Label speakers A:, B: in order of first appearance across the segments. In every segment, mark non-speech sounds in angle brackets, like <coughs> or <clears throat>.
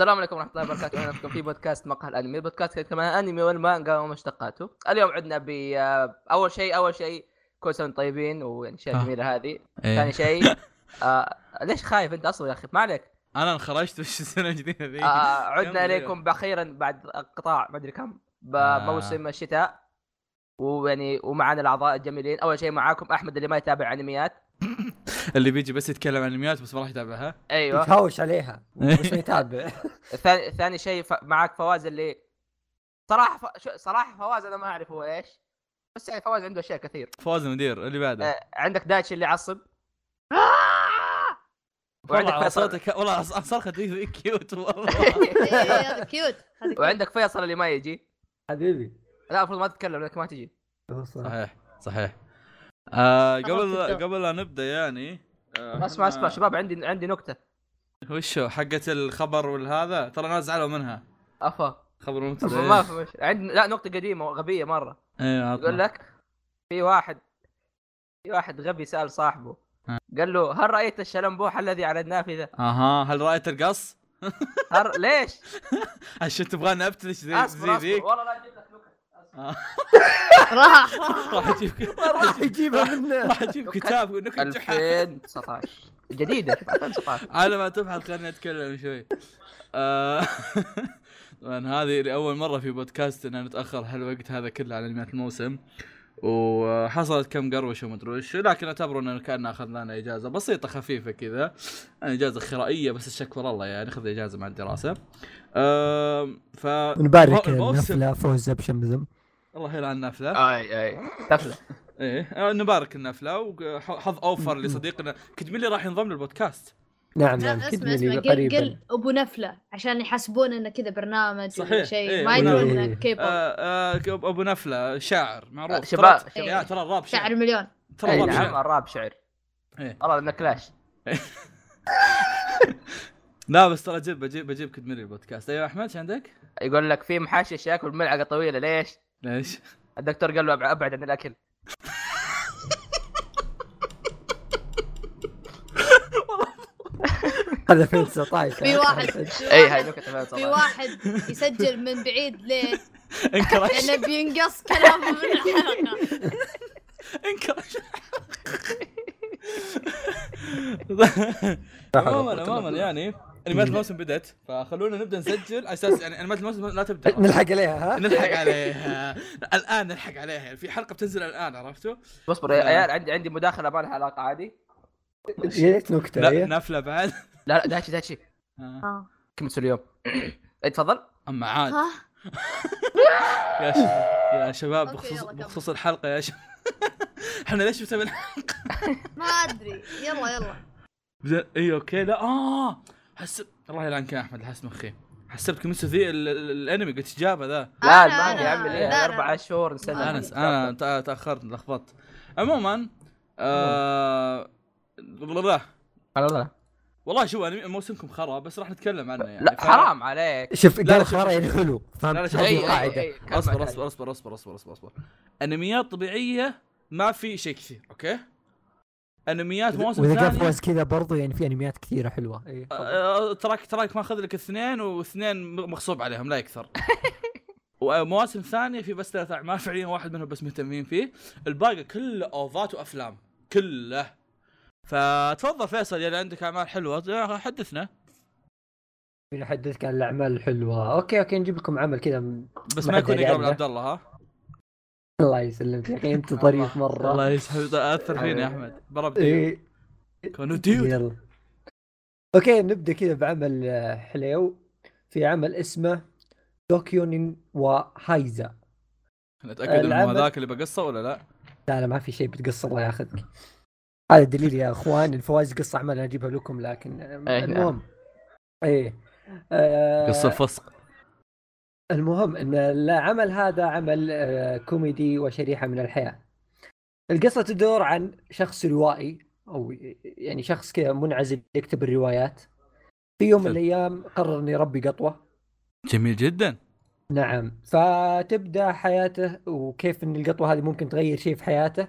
A: السلام عليكم ورحمة الله وبركاته، أهلا بكم في بودكاست مقهى الأنمي، بودكاست يتكلم عن الأنمي والمانجا ومشتقاته. اليوم عندنا ب آه، أول شيء أول شيء كل سنة وأنتم طيبين والأشياء
B: آه.
A: الجميلة هذه. ثاني
B: ايه
A: شيء
B: <laughs>
A: آه ليش خايف أنت أصلا يا أخي؟ ما عليك.
B: انا انخرجت وش السنه الجديدة ذي
A: آه
B: إيه، كمل
A: عدنا
B: أيوة.
A: إليكم بأخيرا بعد قطاع ما أدري كم
B: آه.
A: بموسم الشتاء ويعني ومعنا الأعضاء الجميلين، أول شيء معاكم أحمد اللي ما يتابع أنميات.
B: اللي بيجي بس يتكلم عن الميات بس ما راح يتابعها
A: أيوه.
B: <laughs>
C: يتهاوش عليها بس ما يتابع
A: ثاني, ثاني شيء ف... معاك فواز اللي صراحه ف... شو- صراحه فواز انا ما اعرف هو ايش بس يعني فواز عنده اشياء كثير
B: فوز المدير اللي بعده
A: آه، عندك دايتشي اللي يعصب
B: والله على
A: وعندك فيصل
B: صوتك والله على صرخة ذي ذي كيوت والله
D: إيه، هذا كيوت هذا كيوت.
A: <laughs> وعندك فيصل اللي ما يجي
C: حبيبي
A: لا المفروض ما تتكلم لانك ما تجي
B: صحيح صحيح آه قبل
D: خلاص، نبدأ.
B: قبل لا نبدا يعني آه،
A: اسمع
B: إحنا-
A: اسمع شباب عندي عندي نكته
B: وش هو حقت الخبر والهذا ترى ناس زعلوا منها <laughs>
A: افا <laughs>
B: خبر
A: ما
B: ممتاز
A: في مش عندي لا نكته قديمه غبيه مره يقول
B: ايه
A: لك في واحد في واحد غبي سال صاحبه
B: آه.
A: قال له هل رايت الشلمبوح الذي على النافذه؟
B: اها هل رايت القص؟
A: هل... ليش؟
B: عشان تبغاني ابتلش زي
A: اصبر
B: زي
A: اصبر
B: ذيك
A: والله لا جبت لك <laughs> نكت
D: راح
B: <laughs> راح
A: <laughs>
B: اجيب
C: راح يجيبها منه
B: راح اجيب كتاب نكت جحا.
A: 2019 جديده شوف 2019
B: على ما تبحث خليني اتكلم شوي آه، <laughs> طبعا هذه لاول مره في بودكاست ان نتاخر هالوقت هذا كله على انميات الموسم وحصلت كم قروشه ومدري وش لكن اعتبروا انه كان اخذنا لنا اجازه بسيطه خفيفه كذا يعني اجازه خرائيه بس الشكر الله يعني خذ اجازه مع الدراسه آم، ف <laughs>
C: نبارك
B: الموسم.
C: النفلة فوز بشمزم
B: الله يلعن النافله
A: اي اي
B: <laughs>
A: تفلح
B: ايه آه، نبارك النافله وحظ
C: <laughs>
B: اوفر لصديقنا كنت مين اللي راح ينضم للبودكاست
C: نعم نعم
D: لا، اسمع
C: كدمني
D: اسمع قل
C: قريباً.
D: قل ابو نفله عشان يحسبون انه كذا برنامج
B: صحيح،
D: ولا شيء
B: إيه،
D: ما
C: أبو
D: يدرون
C: نفلة.
D: انه كيبوب
B: آه آه أبو- ابو نفله شاعر معروف
A: آه، شباب.
B: ترى- يا ترى الراب
D: شعر
B: شعر
D: مليون
B: ترى
A: اي
B: الراب
A: نعم
B: شعر
A: الراب شعر
B: إيه.
A: والله انك كلاش
B: لا بس ترى جيب بجيب بجيب كدمري البودكاست ايوه احمد شو عندك؟
A: يقول لك في محشش ياكل ملعقه طويله ليش؟
B: ليش؟ <laughs>
A: الدكتور قال له أبع- ابعد عن الاكل
C: <laughs> هذا 2019
B: آه،
D: في واحد
B: إيه.
A: اي إيه، هاي نكته فعلاً
D: في
A: صراحة.
D: واحد يسجل من بعيد ليه؟
B: انكرش
D: لانه بينقص كلامه من الحلقه
A: <laughs>
B: انكرش عموما عموما يعني انميات الموسم بدات فخلونا نبدا نسجل على اساس يعني انميات الموسم لا
A: <laughs>
B: تبدا
C: <laughs> نلحق عليها ها
B: نلحق عليها الان نلحق عليها في حلقه بتنزل الان عرفتوا؟
A: اصبر
B: إيه.
A: يا عيال عندي عندي مداخله ما لها علاقه عادي
C: يا ريت نكتة
B: لا
C: إيه.
B: نافله بعد
A: لا لا دايتشي دايتشي
B: آه.
D: آه.
A: كيميتسو
B: <coughs>
A: اليوم إيه، تفضل
B: اما عاد
D: ها
B: يا شباب يا شباب
D: أوكي،
B: بخصوص
D: يلا كمل.
B: بخصوص الحلقه <laughs> يا شباب احنا ليش مسويين
D: ما ادري يلا يلا
B: بدا- اي اوكي لا اه حسب الله يلعنك يا احمد حسب مخي حسبت كيميتسو ذي ال- ال- الانمي قلت جابه ذا
A: لا
D: أنا-
A: ما يا
D: أنا-
A: عمي
D: لا،
A: ليه
D: لا.
A: اربع شهور نسلم
B: انا انا تأ- تاخرت لخبطت عموما آه والله
A: انا
B: والله شو أنمي- موسمكم خرا بس راح نتكلم عنه يعني
A: لا
B: ف-
A: حرام عليك
C: شوف
B: لا،
C: قال
B: شوف،
C: خرا
B: شوف.
C: يعني حلو
B: لا، لا،
C: فهمت
B: شوف.
C: هذه
B: أي- أي-
C: القاعدة
A: أي، كمل،
B: اصبر
A: كمل.
B: اصبر اصبر اصبر اصبر اصبر اصبر انميات طبيعيه ما في شيء كثير اوكي انميات موسم
C: واذا قال
B: ثاني
C: فوز كذا برضو يعني في انميات كثيرة حلوة إيه.
B: آه، تراك تراك ماخذ لك اثنين واثنين م- مغصوب عليهم لا يكثر ومواسم ثانيه في بس ثلاث اعمال فعليا واحد منهم بس مهتمين فيه الباقي كله اوفات وافلام كله فتفضل فيصل يا اللي عندك اعمال حلوه آه، حدثنا
C: بنحدثك عن الاعمال الحلوة اوكي اوكي نجيب لكم عمل كذا م-
B: بس
C: ما
B: ما
C: حد
B: يكون
C: يدري
B: يقرب
C: عنه.
B: لعبد الله ها
C: الله يسلمك يا
B: <laughs>
C: اخي انت ظريف مرة
B: الله يسحب اثر فيني يا
C: أيوه.
B: احمد بربتي
C: إيه.
B: كانوا ديود
C: يلا اوكي نبدا كذا بعمل آه، حليو في عمل اسمه دوكيونين وهايزا
B: نتاكد انه
C: العمل-
B: هذاك اللي بقصه ولا لا
C: لا لا ما في شيء بتقص الله ياخذك هذا دليل يا اخوان الفوائز قصه اعمال أنا اجيبها لكم لكن
A: إيه،
C: آه،
A: نعم.
C: المهم ايه آه،
B: الفسق
C: المهم ان العمل هذا عمل آه، كوميدي وشريحه من الحياه. القصه تدور عن شخص روائي او يعني شخص كذا منعزل يكتب الروايات. في يوم من
B: حلو.
C: الايام قرر انه يربي قطوه.
B: جميل جدا
C: نعم فتبدا حياته وكيف ان القطوه هذه ممكن تغير شيء في حياته.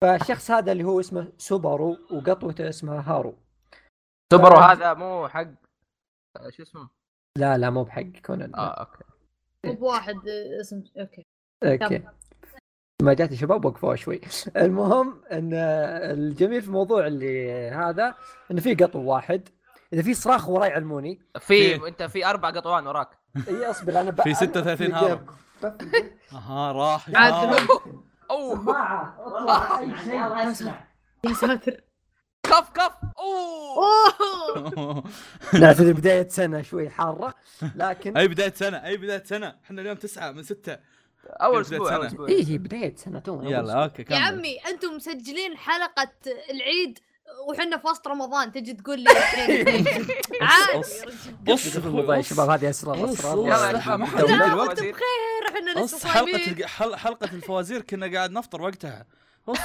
C: فالشخص هذا اللي هو اسمه سوبارو وقطوته اسمها هارو.
A: سوبرو هذا مو حق آه، شو اسمه
C: لا لا مو بحق كونان
A: اه اوكي
D: مو بواحد آه، اسم اوكي
C: اوكي ما جات الشباب وقفوا شوي المهم ان الجميل في الموضوع اللي هذا انه في قطو واحد اذا في صراخ ورا يعلموني
B: في-
A: في انت في اربع قطوان وراك
C: اي اصبر انا ب...
B: <laughs> في 36 هارب. اها راح
D: عاد.
A: اوه
C: سماعه والله اي شيء ما اسمع
D: يا ساتر
A: كف كف اوه
D: اوه
B: آه. <laughs>
C: نعتذر بدايه سنه شوي حاره لكن
B: اي بدايه سنه اي بدايه سنه احنا اليوم تسعة من ستة
A: اول
B: بداية
A: اسبوع اول
B: سنة.
A: اسبوع
C: اي هي بدايه سنه تونا
B: يلا اوكي
D: يا
B: كمل
D: عمي انتم مسجلين حلقه العيد وحنا في وسط رمضان تجي تقول لي الحين
C: <laughs>
B: <laughs>
D: العيد. عادي يا رجل.
B: بص
C: والله يا شباب هذه اسرار
B: أوف،
C: اسرار
B: والله.
C: أسرار.
B: لا، ما حد
C: دولة.
B: يدري.
D: لا
A: الوزير.
D: وقت بخير احنا لسه
B: بص حلقه
D: صايمين
B: الج- حل- حلقه الفوازير كنا قاعد نفطر وقتها <laughs> بص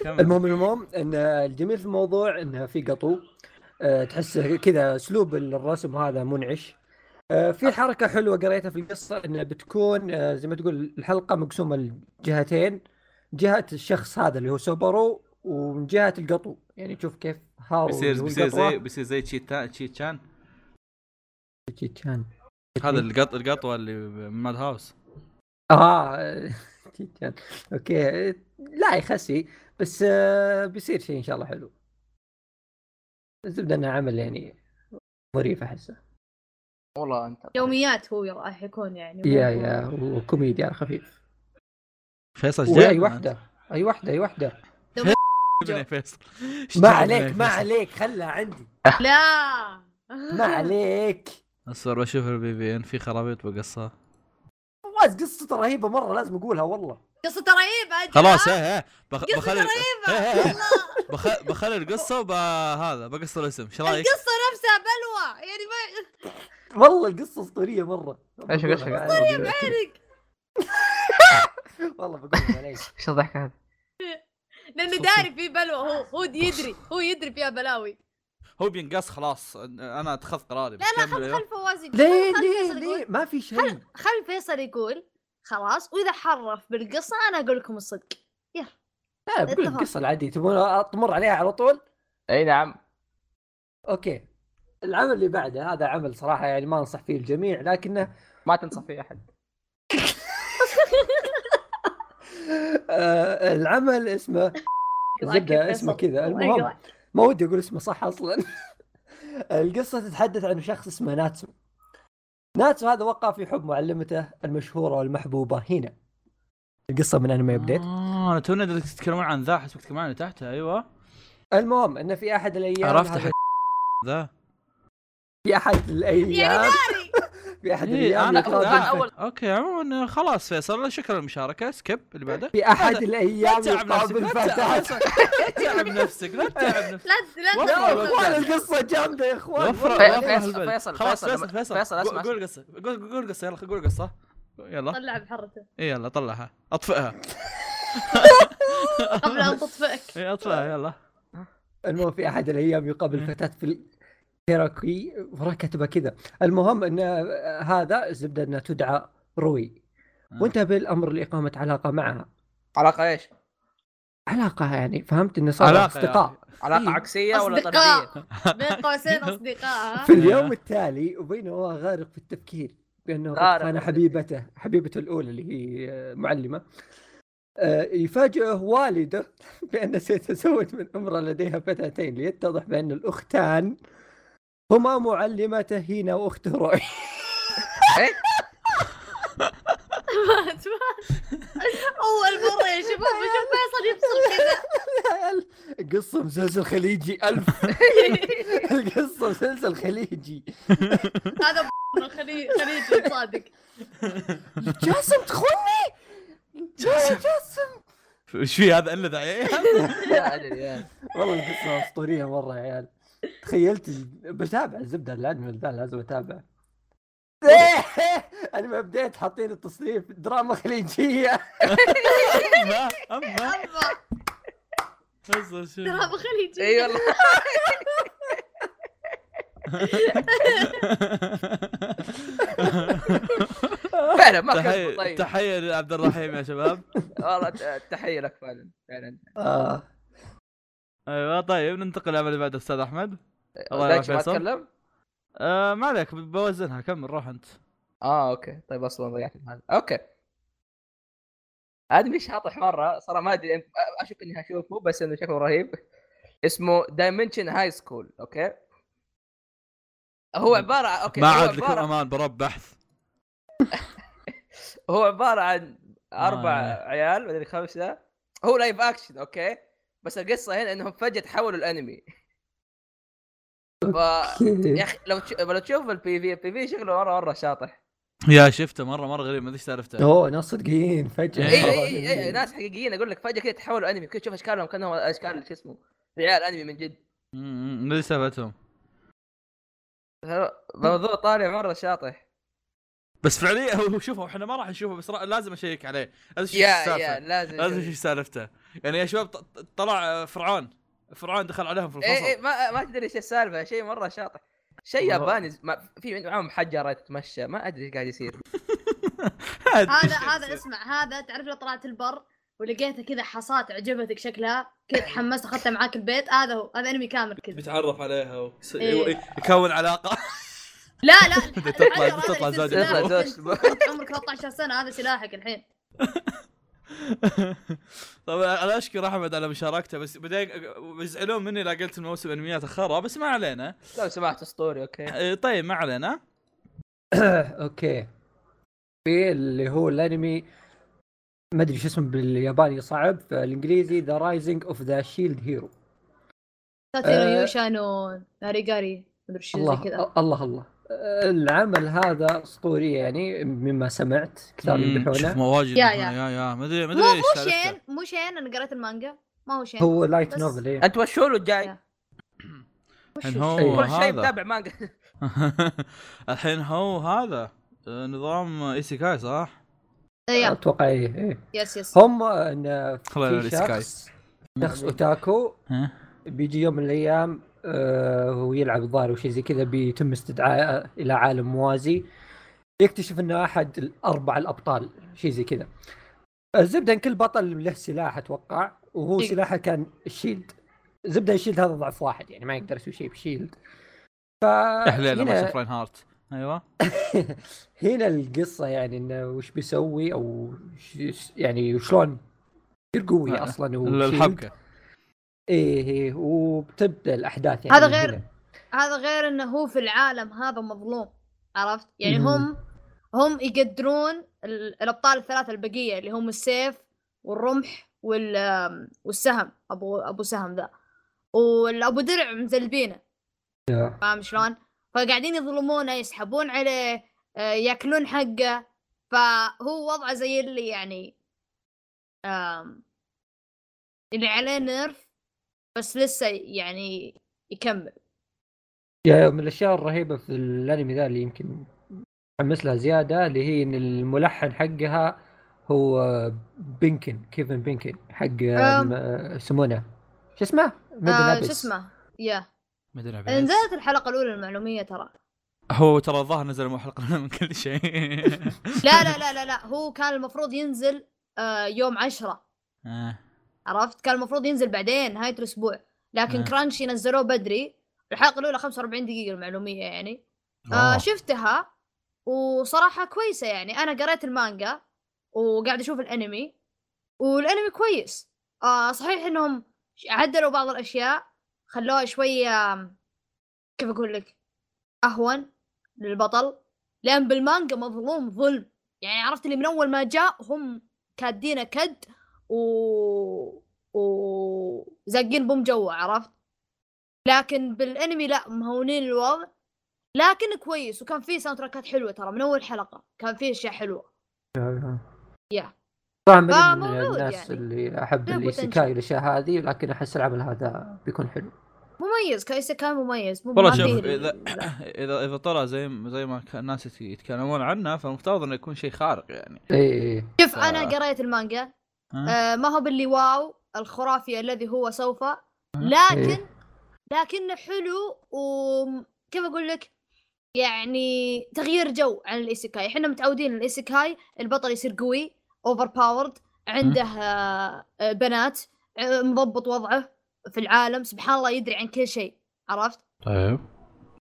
B: كمل.
C: المهم المهم ان الجميل في الموضوع انه في قطو أه، تحسه كذا اسلوب الرسم هذا منعش أه، في حركه حلوه قريتها في القصه انه بتكون أه، زي ما تقول الحلقه مقسومه لجهتين جهه الشخص هذا اللي هو سوبرو ومن جهه القطو يعني تشوف كيف هاو
B: بيصير
C: اللي هو
B: بيصير
C: القطوة.
B: زي بيصير زي تشيتا تشيتشان
C: شي كان
B: هذا القط القطوه اللي ماد هاوس
C: <laughs> اه شي كان اوكي لا يخسي بس أه، بيصير شيء ان شاء الله حلو الزبده انه عمل يعني ظريف احسه
A: والله انت
D: يوميات هو راح يكون يعني
C: يا
D: <laughs>
C: يا وكوميديا على خفيف
B: فيصل
C: واي
B: <laughs>
C: واحده اي واحده اي واحده
B: ابني <laughs> فيصل
C: ما عليك ما عليك خلها عندي
D: لا
C: ما عليك
B: اصبر واشوف البي بي ان في خرابيط بقصها
D: آه.
C: فواز قصته رهيبه مره لازم اقولها والله
D: قصة رهيبة أجل. آه،
B: خلاص ايه ايه بخ...
D: قصة
B: بخلي
D: رهيبة
C: <laughs>
B: إيه، إيه، إيه.
D: والله
B: <laughs> بخ... بخلي القصه وهذا بقص الاسم ايش رايك؟
D: القصة نفسها بلوى يعني ما
C: والله القصه اسطوريه مره
A: ايش ايش
C: اسطوريه
D: يعرق
C: والله بقولها عليك
A: ايش الضحك هذا؟
D: لأنه داري في بلوى هو هو يدري هو يدري فيها بلاوي
B: هو بينقص خلاص انا اتخذ قراري
D: لا <laughs> لا خل خل فواز يقول
C: ليه
D: خل- خل
C: ليه
D: فيصل يقول-
C: ليه ما في شيء
D: خل فيصل يقول خلاص وإذا حرف بالقصة أنا أقول لكم الصدق
C: لا بقول
D: اتفق.
C: القصه العاديه تبون اطمر عليها على طول
A: اي نعم
C: اوكي العمل اللي بعده هذا عمل صراحه يعني ما انصح فيه الجميع لكنه
A: ما تنصح فيه احد
C: آه العمل اسمه الزبده اسمه كذا المهم ما ودي اقول اسمه صح اصلا <laughs> القصه تتحدث عن شخص اسمه ناتسو ناتسو هذا وقع في حب معلمته المشهوره والمحبوبه هنا القصه من انمي ابديت
B: اه انا تونا دريت تتكلمون عن ذا حسبك تتكلمون عن تحته ايوه
A: آه.
C: المهم انه في احد الايام
B: عرفت
C: هذا-
B: حق ذا
C: في احد
D: يعني
C: الايام
D: داري
C: في احد
B: إيه،
C: الايام
B: انا
C: يقرأ
A: أنا
C: جزء-
A: أول-
B: اوكي عموما آه، خلاص فيصل شكرا للمشاركه سكيب اللي بعده
C: في احد
B: هذا-
C: الايام
B: لا تتعب
C: يقطع
B: نفسك لا تتعب
C: بالفتاه
B: نفسك، لا تتعب نفسك لا تتعب
A: <laughs>
B: نفسك
D: لا لا
B: والله
C: يا
B: والله.
D: تقول.
C: اخوان القصه جامده يا اخوان
B: وفر
A: فيصل-
B: وفر
A: فيصل-
B: هالبلد.
A: فيصل-
B: خلاص
A: فيصل-
B: فيصل فيصل
A: فيصل،
B: قو-
A: اسمع.
B: قول قصه قول قول قصه يلا قول قصه يلا
D: طلع بحرته
B: إيه، يلا طلعها اطفئها
D: قبل أن تطفئك
B: إيه، اطفئها يلا
C: المهم في احد الايام يقابل فتاه في الكيراكي وراه كاتبه كذا المهم ان هذا الزبده انها تدعى روي وانتهى بالامر لاقامه علاقه معها
A: علاقه ايش؟
C: علاقه يعني فهمت انه صار
B: علاقة
C: اصدقاء إيه.
A: علاقه عكسيه ولا طرديه؟
D: <laughs> أصدقاء بين قوسين أصدقاء
C: <laughs>
D: ها؟
C: في اليوم التالي وبينه هو غارق في التفكير بانه قد
A: غارق.
C: خان حبيبته حبيبته الاولى اللي هي آه، معلمه آه، يفاجئه والده <laughs> بانه سيتزوج من امراه لديها فتاتين ليتضح بان الاختان هما معلمته هنا واخته <laughs> روي
A: إيه؟
D: مات مات اول مره يا شباب اشوف فيصل يفصل كذا
C: قصه مسلسل خليجي <laughs> الف القصه مسلسل خليجي
D: هذا ب- من خلي خليجي صادق
C: جاسم تخوني جاسم جاسم
B: ايش في هذا الا ذا إيه،
A: لا ادري يعني.
C: والله القصه اسطوريه مره يا عيال تخيلت ال- بتابع الزبده الانمي ذا لازم <laughs> اتابع انا ما بديت حاطين التصنيف دراما خليجيه
B: اما اما
A: <laughs>
D: أما
B: فيصل شو
D: ترى
B: <laughs>
D: أبو خليجي
A: اي والله <laughs> فعلا ما كان
B: تحيه
A: طيب
B: تحيه لعبد الرحيم يا شباب
A: والله ت- تحيه لك فعلا فعلا
C: <laughs> آه.
B: ايوه طيب ننتقل أيوة، للعمل اللي بعده استاذ احمد الله
A: دايتشي ما
B: يرحمه فيصل.
A: تكلم
B: آه، آه ما عليك ب- بوزنها كمل روح انت
A: اه اوكي طيب اصلا ضيعت هذا اوكي ادمي شاطح مره صراحه ما ادري أم- اشك اني هشوفه بس انه شكله رهيب اسمه دايمنشن هاي سكول اوكي هو عباره اوكي
B: ما
A: هو
B: عاد لكل
A: عباره
B: امان برب بحث
A: هو عباره عن اربع
B: آه.
A: عيال مدري خمسه هو لايف اكشن اوكي بس القصه هنا انهم فجاه تحولوا الانمي ف يا اخي لو تش- لو تشوف البي في البي في شكله مره مره شاطح
B: يا شفته مره مره غريب ما ادري ايش سالفته
C: اوه ناس صدقين فجاه
D: إيه،
A: اي اي اي, أي,
C: <laughs>
A: أي إيه، ناس حقيقيين اقول لك فجاه كذا تحولوا انمي كذا تشوف اشكالهم كانهم اشكال شو اسمه رجال انمي من جد
B: مم، مم، ما ادري سالفتهم
A: موضوع طالع مره شاطح
B: بس فعليا <laughs> هو شوفوا احنا ما راح نشوفه بس را- لازم اشيك عليه لازم اشوف إيش
A: يا يا
B: السالفه
A: لازم
B: لازم اشوف إيش سالفته يعني يا شباب ط- ط- طلع آه، فرعون فرعون دخل عليهم في
A: اي اي
B: <laughs> الفصل
A: إيه، ما ما تدري ايش السالفه شيء مره شاطح شيء
B: والله.
A: ياباني ز- ما في معاهم حجره تتمشى ما ادري ايش قاعد يصير
D: هذا هذا اسمع هذا تعرف لو طلعت البر ولقيتها كذا حصاة عجبتك شكلها كذا تحمست اخذتها معاك البيت هذا هو هذا انمي كامل كذا
B: بيتعرف عليها ويس-
D: إيه.
B: يكون علاقه
D: لا لا الحجر
B: <laughs> تطلع-
D: هذا
B: تطلع
D: اللي
B: زوجة.
D: يصير
A: تطلع
D: سلاح.
A: زوجة.
D: أنت عمرك 13 سنه هذا سلاحك الحين
B: طبعا انا اشكر احمد على مشاركته بس بعدين يزعلون مني اذا قلت الموسم انميات اخرها بس ما علينا
A: لو سمحت اسطوري
B: <laughs>
A: اوكي
B: إيه، طيب ما علينا
C: اوكي في اللي هو الانمي ما ادري شو اسمه بالياباني صعب فالانجليزي ذا رايزنج اوف ذا شيلد هيرو
D: ساتينو
C: آه.
D: يوشانو ناريغاري مدري شو زي
C: الله
D: كذا
C: الله الله العمل هذا اسطوري يعني مما سمعت كثار
B: مم، شوف
C: يمدحونه
B: مواجد
D: يا-
B: هنا، يا يا ما ادري ما
D: مو
B: ادري ايش
D: مو
B: سالفته.
D: شين مو شين انا قريت المانجا ما هو شين
C: هو لايت
D: يعني بس-
C: نوفل إيه.
A: انت وشو له جاي
D: يا. وش
B: الحين
D: وش-
C: أيوة.
B: هو
A: كل شيء
B: هذا
A: متابع مانجا
B: <laughs>
A: <laughs>
B: الحين هو هذا آه، نظام ايسيكاي صح؟
D: إيه،
C: اتوقع ايه إيه.
D: يس يس
C: هم ان
B: خلينا
C: في
B: الايسيكاي
C: شخص شخص اوتاكو
B: ها؟
C: بيجي يوم من الايام آه، ويلعب الظاهر وشي زي كذا بيتم استدعائه الى عالم موازي يكتشف انه احد الاربع الابطال شي زي كذا الزبده ان كل بطل له سلاح اتوقع وهو
D: إيه.
C: سلاحه كان الشيلد زبده الشيلد هذا ضعف واحد يعني ما يقدر يسوي شيء بشيلد ف
B: يا حليله ما
C: آه، هنا,
B: شاف راين هارت ايوه
C: هنا القصه يعني انه وش بيسوي او ش- يعني وشلون كثير قوي
B: آه،
C: اصلا هو شيلد.
B: الحبكه
C: ايه ايه وبتبدا الاحداث يعني
D: هذا
C: من
D: غير
C: هنا.
D: هذا غير انه هو في العالم هذا مظلوم عرفت يعني
C: مم.
D: هم هم يقدرون ال- الابطال الثلاثه البقيه اللي هم السيف والرمح وال آم، والسهم ابو ابو سهم ذا والابو درع مزلبينه
C: يا.
D: فاهم شلون؟ فقاعدين يظلمونه يسحبون عليه آه، ياكلون حقه فهو وضعه زي اللي يعني آم، اللي عليه نيرف بس لسه يعني يكمل
C: يا من الاشياء الرهيبه في الانمي ذا اللي يمكن متحمس لها زياده اللي هي ان الملحن حقها هو بينكن كيفن بينكن حق
D: أم.
C: م- يسمونه شو اسمه؟ ميدن
D: آه
C: أبيس.
D: شو اسمه؟ يا
B: مدري عبيد.
D: نزلت الحلقه الاولى المعلوميه ترى
B: هو ترى الظاهر نزل مو حلقه من كل شيء <laughs>
D: لا لا لا لا لا هو كان المفروض ينزل آه يوم عشرة
B: آه.
D: عرفت كان المفروض ينزل بعدين نهايه الاسبوع لكن
B: آه.
D: كرانشي نزلوه بدري الحلقه الاولى 45 دقيقه المعلوميه يعني آه
B: أوه.
D: شفتها وصراحه كويسه يعني انا قريت المانجا وقاعد اشوف الانمي والانمي كويس آه صحيح انهم عدلوا بعض الاشياء خلوها شويه آم، كيف اقول لك اهون للبطل لان بالمانجا مظلوم ظلم يعني عرفت اللي من اول ما جاء هم كادينه كد و وزاقين بوم جوا عرفت لكن بالانمي لا مهونين الوضع لكن كويس وكان فيه ساوند تراكات حلوه ترى من اول حلقه كان فيه اشياء حلوه يا.
C: طبعا من
D: فموجود
C: الناس
D: آه، يعني.
C: اللي احب
D: له
C: الايسيكاي
D: potential.
C: والاشياء هذه لكن احس العمل هذا بيكون حلو
D: مميز كايسا كان مميز مو
B: والله
D: ما
B: شوف
D: فيه
B: اذا <coughs>
D: ال- لا.
B: اذا اذا طلع زي زي ما كان الناس يت- يتكلمون عنه فالمفترض انه يكون شيء خارق يعني
D: إيه.
C: اي اي
D: شوف انا قريت المانجا
B: ها؟
D: آه ما هو باللي واو الخرافي الذي هو سوف لكن لكنه حلو وكيف اقول لك يعني تغيير جو عن الايسيكاي احنا متعودين الايسيكاي البطل يصير قوي اوفر باورد عنده آه، آه، بنات آه، مضبط وضعه في العالم سبحان الله يدري عن كل شيء عرفت
B: طيب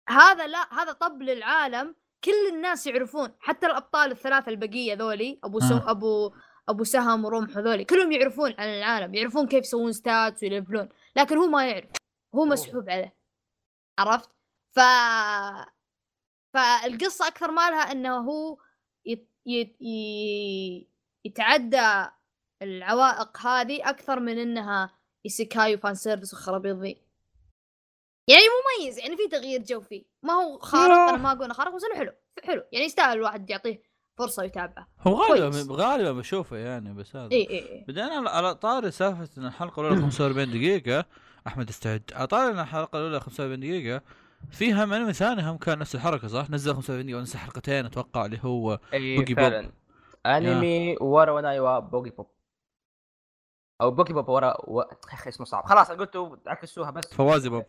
D: هذا لا هذا طب للعالم كل الناس يعرفون حتى الابطال الثلاثه البقيه ذولي ابو سم
B: آه.
D: ابو ابو سهم ورمح وذولي كلهم يعرفون عن العالم يعرفون كيف يسوون ستاتس ويلفلون لكن هو ما يعرف هو مسحوب عليه عرفت ف فالقصه اكثر مالها انه هو يت... يت... ي- يتعدى العوائق هذه اكثر من انها ايسيكاي وفان سيرفيس وخرابيط ذي يعني مميز يعني في تغيير جو فيه ما هو خارق انا ما اقول إنه خارق بس انه حلو حلو يعني يستاهل الواحد يعطيه فرصه ويتابعه
B: هو
D: كويس. إيه.
B: غالبا غالبا بشوفه يعني بس هذا
D: اي اي اي
B: بعدين على- على طاري سالفه ان الحلقه الاولى 45 دقيقه احمد استعد على طاري ان الحلقه الاولى 45 دقيقه في هم انمي ثاني هم كان نفس الحركه صح؟ نزل 45 دقيقه ونزل حلقتين اتوقع اللي هو
A: اي
B: بوكي
A: فعلا انمي ورا وناي وا بوكي بوب او بوكي بوب ورا و... يا اخي اسمه صعب خلاص أنا قلته عكسوها بس
B: فوازي بوب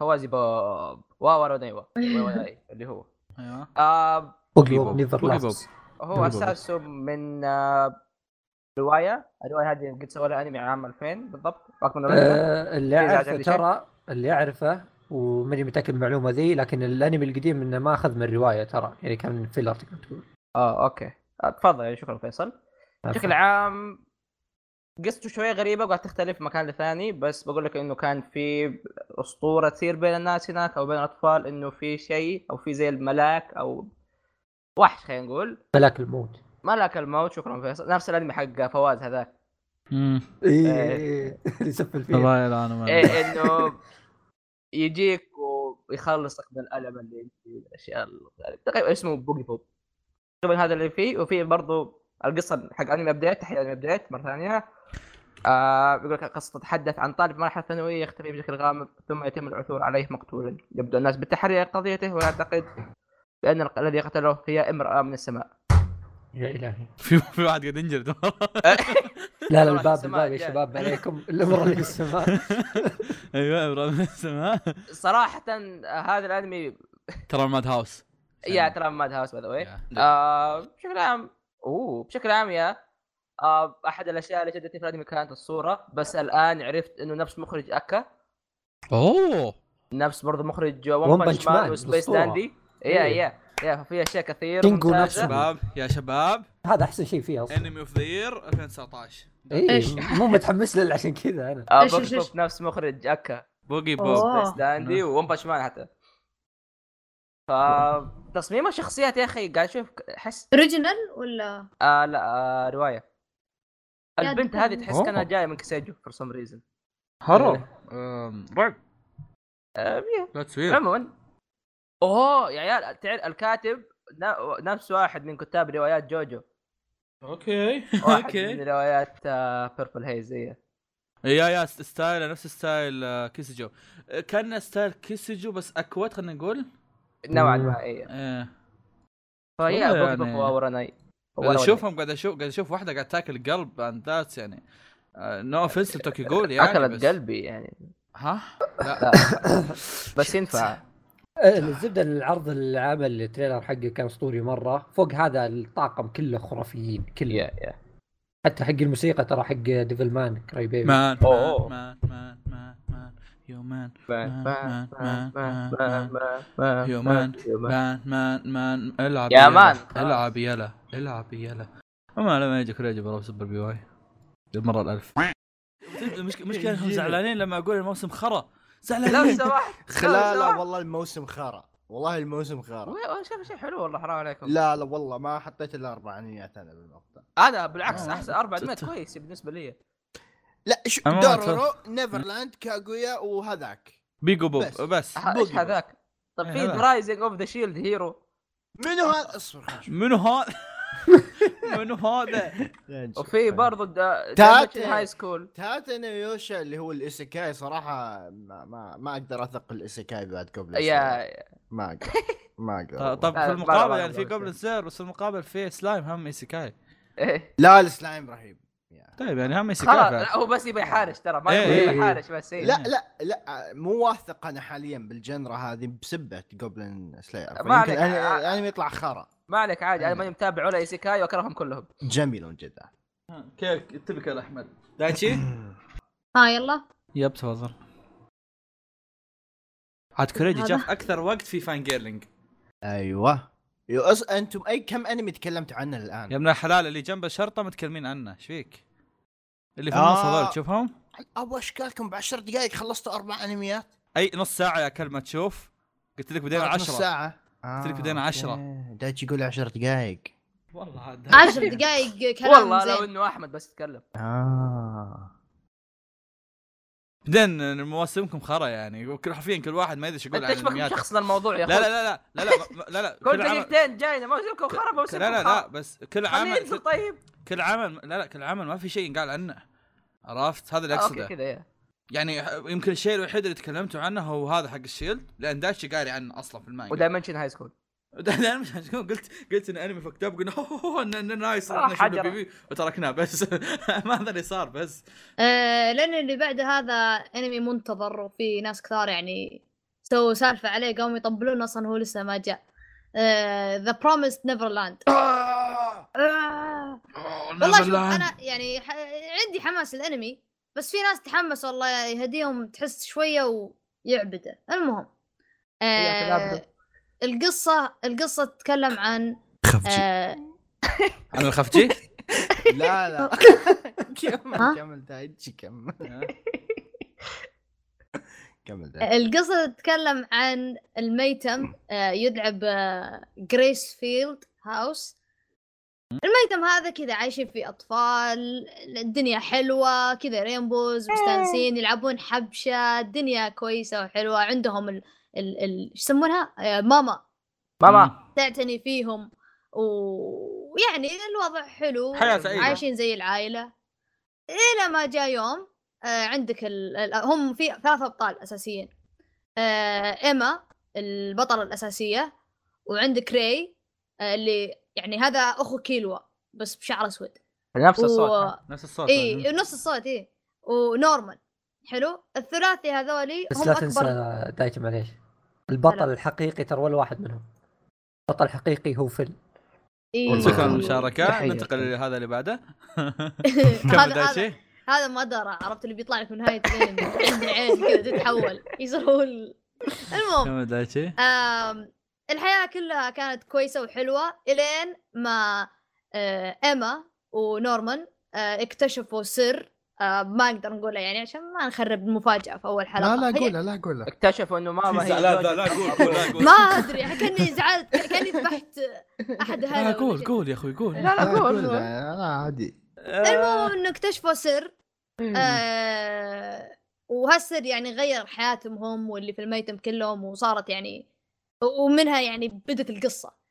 A: فوازي بوب وا ورا وناي وا ورا وناي اللي هو
B: ايوه
A: آه
C: بوكي
B: بوب.
C: بوب نيفر
B: بوكي بوب
C: لاست
A: هو
B: بوب.
A: اساسه من آه روايه الروايه هذه قد سوى لها انمي عام 2000 بالضبط باكمان أوريجن.
C: اللي
A: طيب، إيه، إذا
C: اعرفه
A: عجبني شيء.
C: آه، ترى اللي اعرفه وماني متاكد من المعلومه ذي لكن الانمي القديم انه ما اخذ من الروايه ترى يعني كان فيلر تقدر تقول
A: اه اوكي آه، تفضل يعني شكرا فيصل بشكل عام قصته شويه غريبه وقاعد تختلف من مكان لثاني بس بقول لك انه كان في اسطوره تصير بين الناس هناك او بين الاطفال انه في شيء او في زي الملاك او وحش خلينا نقول
C: ملاك الموت
A: ملاك الموت شكرا فيصل نفس الانمي حق فواز هذاك
B: مم.
A: إيه، <laughs>
C: اي اللي يسفل فيه
B: الله يلعنه ما-
A: ايه انه يجيك ويخلصك من الالم اللي انت فيه، الاشياء ال- تقريبا اسمه بوكي بوب تقريبا هذا اللي فيه وفي برضه القصه حق انمي ابديت تحيه انمي ابديت مره ثانيه آه بيقول لك القصه تتحدث عن طالب مرحله ثانويه يختفي بشكل غامض ثم يتم العثور عليه مقتولا يبدو الناس بالتحري عن قضيته ويعتقد بان ال- الذي قتله هي امراه من السماء
C: يا الهي
B: <laughs> في في واحد قاعد <laughs> ينجلد
C: لا لا
A: راح
C: الباب
A: السماء
C: الباب يا
A: جاي.
C: شباب عليكم الامر اللي في
B: <laughs>
C: السماء
B: ايوه ابره من السماء
A: صراحه آه، هذا الانمي
B: ترى ماد هاوس
A: يا ترى ماد هاوس باي ذا واي
B: يا.
C: نعم.
A: آه، بشكل عام اوه بشكل عام يا آه، احد الاشياء اللي شدتني في الانمي كانت الصوره بس
C: نعم.
A: الان عرفت انه نفس مخرج اكا
B: اوه
A: نفس برضه مخرج ون
C: One
A: بانش
C: Punch
A: مان
C: Man
A: وسبيس
C: بالصورة.
A: داندي يا
C: إيه.
A: يا يا في اشياء كثير
C: كينجو
A: ممتازه
C: نفسه.
B: شباب يا شباب
C: هذا احسن شيء فيه اصلا
B: انمي اوف ذا يير 2019
A: إيه؟
C: اي
D: إيش؟
C: مو متحمس له عشان كذا انا
A: آه،
D: إيش-
A: بوك
D: إيش-
A: بوك
D: إيش؟
A: نفس مخرج اكا
B: بوجي بوب
D: أوه.
A: سبيس
C: نعم.
A: داندي وون بانش مان حتى فتصميم الشخصيات يا اخي قاعد اشوف احس
D: اوريجينال ولا
A: آه لا آه روايه
D: يا
A: البنت
D: دكتور.
A: هذه تحس كانها
B: أوه.
A: جايه من كسيجو فور سم ريزن
B: هرب إيه. أم، رعب لا تصوير
A: عموما اوه يا عيال تعرف الكاتب نا- نفس واحد من كتاب روايات جوجو
B: <laughs> اوكي
A: واحد
B: اوكي
A: من روايات آه، بيربل هيز هي
B: يا يا س- ستايل نفس ستايل آه، كيسجو آه، كان ستايل كيسجو بس اكوت خلينا نقول
A: نوعا
C: مم.
A: ما هي
B: ايه
A: فهي
B: والله
A: بوك بوك
B: يعني-
A: ووراناي
B: اشوفهم قاعد اشوف قاعد اشوف واحده قاعد تاكل قلب عن ذات يعني نو اوفنس توكي جول يعني
A: اكلت
B: بس-
A: قلبي يعني
B: ها
A: لا.
B: لا
A: بس ينفع
C: آه، الزبده العرض العام التريلر حقه كان اسطوري مره فوق هذا الطاقم كله خرافيين كله
A: يا يا
C: حتى حق الموسيقى ترى حق ديفل مان كراي بيبي
B: مان
A: أوه.
B: مان مان مان مان يو مان مان، مان، مان، مان، يو مان.
A: <laughs>
B: مان مان مان العب
A: يا
B: يلا.
A: مان، خلاص.
B: العب يلا العب يلا وما لما يجي كل يجي بروح سوبر بي واي المره الالف المشكله المشكله انهم زعلانين لما اقول الموسم خرا
A: لو
B: زعلانين <laughs>
A: سمحت
E: لا
A: آه.
E: لا والله الموسم خرا والله الموسم خرا
A: والله شوف شيء حلو والله حرام عليكم
E: لا لا والله ما حطيت الا اربعينيات انا بالمقطع
A: انا بالعكس
B: آه.
A: احسن اربع
B: تت-
A: دمات كويس بالنسبه لي
E: لا شو
B: أنا ما
E: دورورو نيفرلاند كاغويا وهذاك
B: بيجو بوب
E: بس.
B: بس
A: ها- ايش
E: بوكي بوب.
A: هذاك طب
B: إيه
A: في
B: هذا.
A: رايزنج اوف ذا شيلد هيرو
E: منو <laughs> هذا اصبر خلنا نشوف.
B: منو
A: <laughs>
B: هذا منو هذا
E: خلنا نشوف.
A: وفي برضه
E: تات-
A: هاي سكول
E: تاتانا يوشا اللي هو الايسيكاي صراحه ما ما, ما اقدر اثق الايسيكاي بعد قبل
A: يا
E: ما اقدر
A: <laughs>
E: ما اقدر
B: طب- طب
A: لا، لا،
B: طيب، في المقابل
A: لا،
B: يعني في
A: لا، لا.
B: جوبلن سير بس في المقابل في سلايم هم ايسيكاي
A: إيه.
E: لا السلايم رهيب يا.
B: طيب يعني هم ايسيكاي
A: خلاص <laughs>
B: فعلاً.
A: لا، هو بس يبي يحارش ترى ما
B: إيه،
A: يبي
C: إيه.
A: يحارش بس إيه.
E: لا لا لا مو واثق انا حاليا بالجنرة هذه بسبه جوبلن سلاير
A: ما عليك. آه.
E: يمكن الانمي يطلع خرا
A: ما عليك عادي
B: إيه.
A: انا ماني متابع ولا ايسيكاي واكرههم كلهم
E: جميل جدا
B: كيف تبكى احمد دايتشي
D: ها يلا
B: يب تفضل عاد كوريجي
D: هذا؟
B: جاف اكثر وقت في فان جيرلينج
E: ايوه يا أس... انتم اي كم انمي تكلمت عنه الان؟
B: يا ابن الحلال اللي جنب الشرطه متكلمين عنه ايش فيك؟ اللي في
E: آه.
B: النص هذول تشوفهم؟
E: ابو اشكالكم بعشر دقائق خلصتوا اربع انميات
B: اي نص ساعه يا كلمه تشوف قلت لك بدينا
E: صارت آه، نص
B: 10
E: ساعة
B: قلت لك بدينا
E: آه،
B: 10.
E: أوكي. دايتش يقول عشر دقائق
B: والله عاد
D: عشر دقائق كلام
A: والله
D: زين.
A: لو انه احمد بس يتكلم
E: اه
B: بعدين مواسمكم خرا يعني وكل حرفيا كل واحد ما يدري ايش يقول
A: انت
B: عن
A: ايش بك
B: انميات لا
A: شخصنا الموضوع يا
B: لا
A: اخوي
B: لا لا لا لا ما-
A: <laughs>
B: لا لا
A: كل
B: كل عمل
A: دقيقتين جاينا موسمكم خرب موسمكم
B: لا لا لا بس كل عمل
A: ينزل طيب
B: كل عمل لا لا كل عمل ما في شيء ينقال عنه عرفت هذا اللي
A: آه، اوكي
B: اقصده
A: كذا إيه.
B: يعني يمكن الشيء الوحيد اللي تكلمتوا عنه هو هذا حق الشيلد لان دايتشي قاري عنه اصلا في المانجا
A: ودايمنشن هاي سكول
B: <laughs> انا مش عشان كذا قلت قلت ان انمي فكت اب قلنا "أوه، إن- إن نايس
A: آه،
B: إحنا شفنا
A: حجرة.
B: بي بي وتركناه بس <laughs> ما هذا اللي صار بس
D: آه لان اللي بعد هذا انمي منتظر وفي ناس كثار يعني سووا سالفه عليه قاموا يطبلون اصلا هو لسه ما جاء آه، ذا بروميسد نيفرلاند آه،
B: نعم،
D: والله شوف انا يعني ح... عندي حماس الانمي بس في ناس تحمس والله يهديهم تحس شويه ويعبده المهم
A: إيه،
D: آه
A: تلعبده.
D: القصه القصه تتكلم عن
B: خفجي
D: آه
B: انا الخفجي
E: لا لا كمل
D: ها؟
E: كمل دايتش كمل كمل دايتش
D: القصة تتكلم عن الميتم آه، يدعى جريس فيلد هاوس الميتم هذا كذا عايشين فيه أطفال الدنيا حلوة كذا رينبوز مستانسين يلعبون حبشة الدنيا كويسة وحلوة عندهم ال ال ال شو يسمونها آه، ماما
A: ماما
D: تعتني فيهم و- ويعني الوضع حلو
B: حياة سعيدة.
D: عايشين زي العائلة إلى ما جاء يوم آه، عندك ال... ال- هم في ثلاثة أبطال أساسيين آه، إيما البطلة الأساسية وعندك ري آه، اللي يعني هذا أخو كيلوا بس بشعر أسود
A: نفس
D: و-
A: الصوت
B: <laughs> نفس الصوت طيب.
D: إي نفس الصوت إي ونورمان حلو الثلاثي هذولي
C: بس
D: هم
C: لا
D: أكبر
C: تنسى دايتش معليش البطل
D: هلا.
C: الحقيقي ترى ولا واحد منهم البطل الحقيقي هو فيل
D: إي.
E: والله.
B: شكرا
D: <laughs>
B: للمشاركة
E: تحية.
B: ننتقل لهذا اللي بعده كمل
D: هذا هذا
B: دايتشي
D: هذا مدرة عرفت اللي بيطلع لك من نهاية الفيلم عند عين كذا تتحول يصير هو ال- المهم
B: كمل دايتشي
D: آم، الحياة كلها كانت كويسة وحلوة إلين ما آه، إيما ونورمان آه، اكتشفوا سر آه، ما اقدر نقوله يعني عشان ما نخرب المفاجأة في أول <laughs> حلقة
E: لا لا
D: هي-
E: قولها لا
D: <laughs>
E: قولها
A: اكتشفوا انه ماما هي زوجة
B: قول
D: ما أدري كأني زعلت كأني ذبحت أحد
B: لا،
D: هذا
B: قول قول يا اخوي قول
A: لا لا قول قول.
E: لا لا، عادي
B: آه،
D: المهم انه اكتشفوا سر آه وهالسر يعني غير حياتهم هم واللي في الميتم كلهم وصارت يعني ومنها يعني بدت القصه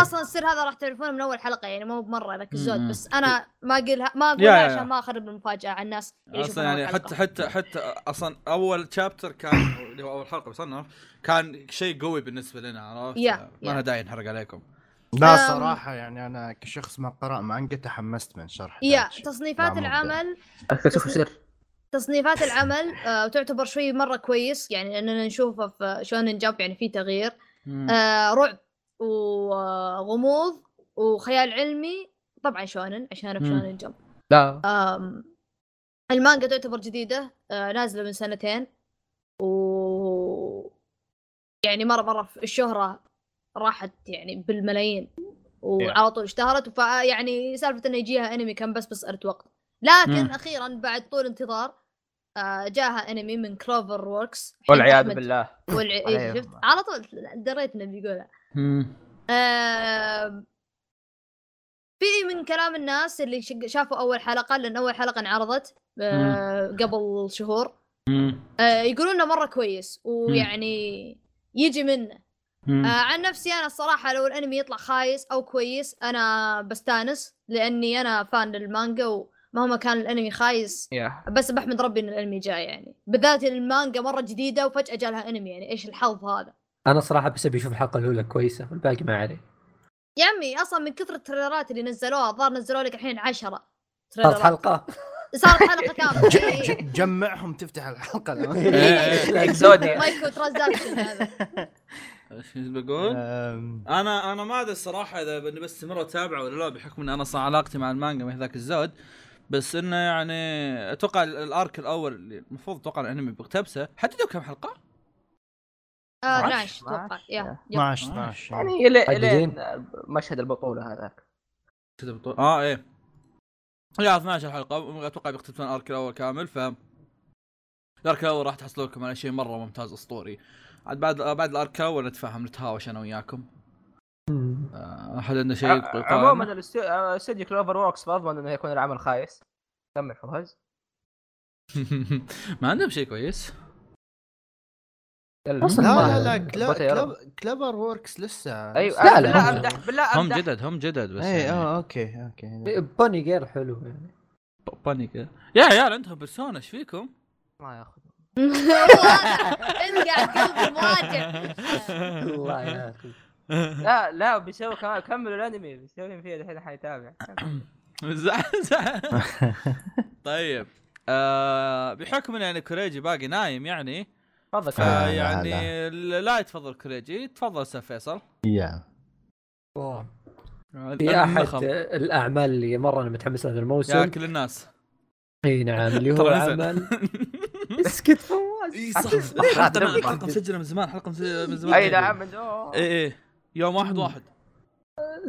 D: اصلا السر هذا راح تعرفونه من اول حلقه يعني مو بمره ذاك الزود
B: مم.
D: بس انا ما اقولها ما
B: يا-
D: اقولها
B: يا- يا.
D: عشان ما اخرب المفاجاه على الناس اللي
B: اصلا
D: يشوفون أول
B: يعني حتى
D: حلقة.
B: حتى حتى اصلا اول شابتر كان اللي هو اول حلقه بصنف كان شيء قوي بالنسبه لنا عرفت؟
D: يا، يا.
B: ما له داعي نحرق عليكم
D: أم.
E: لا صراحة يعني أنا كشخص ما قرأ مانجا تحمست من شرح
D: يا
E: دايتش.
D: تصنيفات
E: لا، مو
D: العمل
A: اكتشفوا سر
D: تصنيفات
B: <laughs>
D: العمل آه تعتبر شوي مره كويس يعني اننا نشوفه في شونن جمب يعني في تغيير آه رعب وغموض وخيال علمي طبعا شونن عشان أنا في
B: مم.
D: شونن جمب
A: لا
D: آم، المانجا تعتبر جديدة آه نازلة من سنتين و يعني مرة مرة في الشهرة راحت يعني بالملايين وعلى طول اشتهرت فيعني سالفة انه يجيها انمي كان بس بس ارد وقت لكن
B: مم.
D: اخيرا بعد طول انتظار آه جاها انمي من كلوفر ووركس
A: والعياذ بالله
D: والع... إيه،
A: عليهم.
D: شفت على طول دريت انه بيقولها آم، في من كلام الناس اللي شق- شافوا اول حلقه لان اول حلقه انعرضت آه، قبل شهور آه، يقولون انه مره كويس ويعني يجي منه آه، عن نفسي انا الصراحه لو الانمي يطلع خايس او كويس انا بستانس لاني انا فان للمانجا ومهما كان الانمي خايس
A: يا
D: بس بحمد ربي ان الانمي جاي يعني بالذات المانجا مره جديده وفجاه جالها انمي يعني ايش الحظ هذا
C: انا صراحه بس ابي اشوف الحلقه الاولى كويسه والباقي ما عليه
D: يا عمي اصلا من كثر التريلرات اللي نزلوها الظاهر نزلوا لك الحين 10
C: صارت
D: تريلرات
C: حلقه <laughs>
D: صارت إيه. حلقه كامله
E: ج-
D: إي، إي.
E: ج- جمعهم تفتح <laughs> الحلقة
C: إيه،
E: الآن.
A: اكزوديا
D: مايكرو
C: <laughs>
D: ترانزاكشن هذا
B: ايش بقول؟
C: إيه.
E: أم،
B: انا انا ما ادري الصراحه اذا بني بستمر اتابعه ولا لا بحكم ان انا صار علاقتي مع المانجا ما هي ذاك الزود بس انه يعني اتوقع ال- الارك الاول اللي المفروض اتوقع الانمي بيقتبسه حددوا كم حلقه؟
D: آه
E: 12
D: 12 اتوقع يا يب.
E: 12 12
A: يعني الى
C: قليلين.
A: الين مشهد البطوله هذاك
B: كذا بطول اه ايه يا 12 حلقه اتوقع بيختتمون الارك الاول كامل ف الارك الاول راح تحصلون لكم على شيء مره ممتاز اسطوري عاد بعد بعد الارك الاول نتفاهم نتهاوش انا وياكم
C: مم.
B: آه، احد عنده
A: أه،
B: شيء يقول-
A: ع- عموما الاستو- آه، استوديو كلوفر ووركس فاضمن انه يكون العمل خايس كمل فوز
B: <laughs> ما عندهم شيء كويس
E: لا
C: أصلاً
E: لا
C: ما-
E: لا كلا-
A: بطل يا رب.
E: كلا- كلبر ووركس لسه
A: ايوه
C: أيوة، لا، إيه،
A: بالله
C: آه، لا، هم-
A: امدح بالله
B: هم
A: امدح
B: جدد هم جدد بس
E: اي
B: يعني.
E: اه اوكي اوكي
C: بوني جير حلو يعني
B: ب- بانيك يا عيال عندهم بيرسونا ايش فيكم؟
A: ما ياخذ
D: <laughs> واضح. انت قاعد قلبي مواجع
C: <laughs> الله يعافيك
A: لا لا بيسوي كمان كملوا الانمي بيسوي فيه الحين حيتابع
B: زعل- زعل. طيب آه بحكم ان يعني كوريجي باقي نايم يعني
A: تفضل
E: آه،
A: كمل.
B: فيعني لا يتفضل كوريجي تفضل استاذ فيصل
E: يا
C: أوه. في احد
B: النخم.
C: الاعمال اللي مره انا متحمس لها هذا
B: يا
C: الموسم
B: اكل الناس
C: اي نعم اللي هو
B: ترى نزل.
C: عمل اسكت فواز
B: اي
A: صح.
B: حتى أنا حلقه مسجله من زمان حلقه مسجله من زمان
A: اي نعم من أوه.
B: اي اي يوم واحد واحد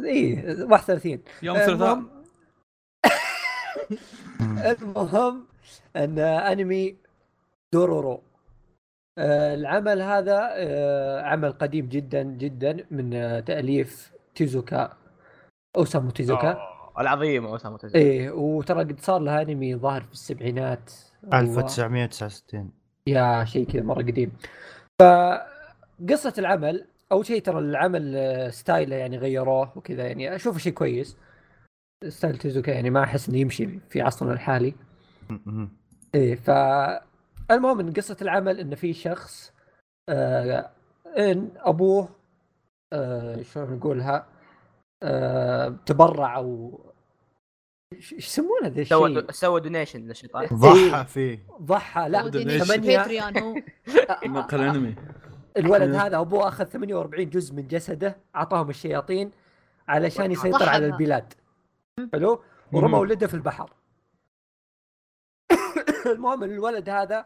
C: اي 31
B: يوم ثلاثاء
C: إيه، المهم- <laughs> المهم ان انمي دورورو آه، العمل هذا آه، عمل قديم جدا جدا من آه، تاليف تيزوكا اوسامو تيزوكا
A: أوه، العظيمه اسامه تزكي
C: ايه وترى قد صار لها انمي ظاهر في السبعينات أيوة. أو-
E: 1969
C: يا شيء كذا مره قديم فقصه العمل اول شيء ترى العمل آه، ستايله يعني غيروه وكذا يعني اشوفه شيء كويس ستايل تيزوكا يعني ما احس انه يمشي في عصرنا الحالي
E: مم.
C: ايه ف المهم ان قصه العمل ان في شخص آه ان ابوه آه شلون نقولها آه تبرع او ش- ايش يسمونه ذا
A: سوى
C: الشيء؟
A: دو- سوى دونيشن للشيطان
C: إيه.
E: ضحى فيه
C: ضحى لا آه،
D: وديني في
C: ثمانية.
D: باتريون هو
C: <laughs>
B: نقل انمي
C: الولد هذا ابوه اخذ 48 جزء من جسده اعطاهم الشياطين علشان يسيطر
D: ضحى
C: على
D: بها.
C: البلاد حلو ورمى ولده في البحر <coughs> المهم الولد هذا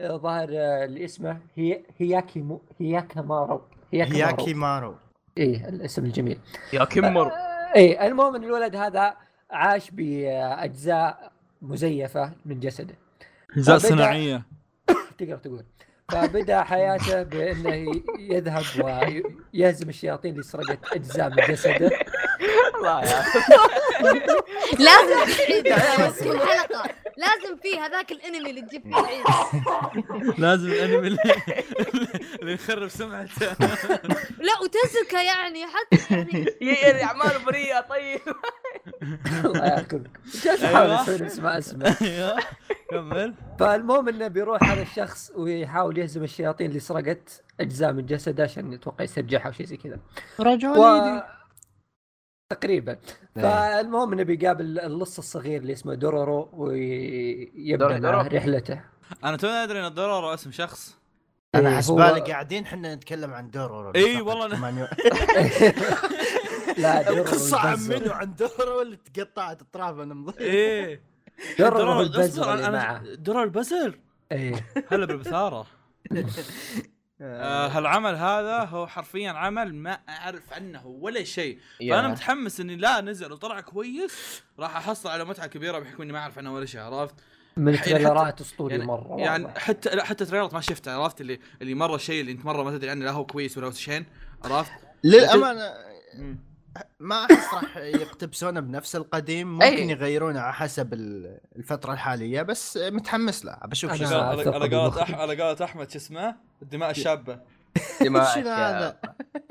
C: آه، ظاهر آه، اللي اسمه هي هياكي مو هياكا مارو
E: هياكي
C: هياكي مارو
E: مارو
C: ايه الاسم الجميل
A: يا كمرو
C: ايه المهم ان الولد هذا عاش باجزاء مزيفه من جسده
B: اجزاء
C: بدأ-
B: صناعيه
C: تقدر تقول فبدا حياته بانه ي- يذهب ويهزم الشياطين اللي سرقت اجزاء من جسده
A: الله يا أخي.
D: لازم
C: <laughs>
D: تعيدها بس كل حلقه لازم في هذاك الانمي اللي تجيب فيه العيد
B: لازم الانمي اللي اللي يخرب سمعته
D: لا وتزكى يعني حتى يعني
A: <laughs> يا- يا اعمال بريئه طيب
C: الله يعافيك أيوة. جالس احاول اسوي اسمع اسمع
B: أيوه. كمل
C: فالمهم انه بيروح هذا الشخص ويحاول يهزم الشياطين اللي سرقت اجزاء من جسده عشان يتوقع يسترجعها او شيء زي كذا
E: رجل
C: و... تقريبا
E: إيه.
C: فالمهم انه بيقابل اللص الصغير اللي اسمه دورورو ويبدا
A: دورورو.
C: معاه رحلته
B: انا تونا ادري ان الضرر اسم شخص
C: إيه،
E: انا
C: هو-
E: حسبالي قاعدين احنا نتكلم عن دورو
B: إي والله أنا-
E: <laughs>
C: لا دورورو
E: القصه عن
C: البزر.
E: منو عن دورو اللي تقطعت اطراف انا
B: ايه
C: دورورو هو
B: اصبر،
C: البزر اللي
B: أنا-
C: معاه
B: درر البزر
C: ايه
B: <laughs> هلا بالبثاره آه، هالعمل هذا هو حرفيا عمل ما اعرف عنه ولا شيء فانا متحمس اني لا نزل وطلع كويس راح احصل على متعه كبيره بحكم اني ما اعرف عنه ولا شيء عرفت
C: من
B: حتى-
C: التريلرات اسطوري
B: يعني-
C: مره والله.
B: يعني حتى لا حتى تريلرت ما شفته عرفت اللي اللي مره شيء اللي انت مره ما تدري عنه لا هو كويس ولا هو شين عرفت
E: للامانه ما احس راح يقتبسونه بنفس القديم ممكن
A: أي.
E: يغيرونه على حسب ال- الفتره الحاليه بس متحمس له بشوف شو
C: أنا-
E: يصير.
B: على على قولة أح- على قولة احمد شو اسمه الدماء الشابه
A: دماء
E: <laughs> شنو هذا؟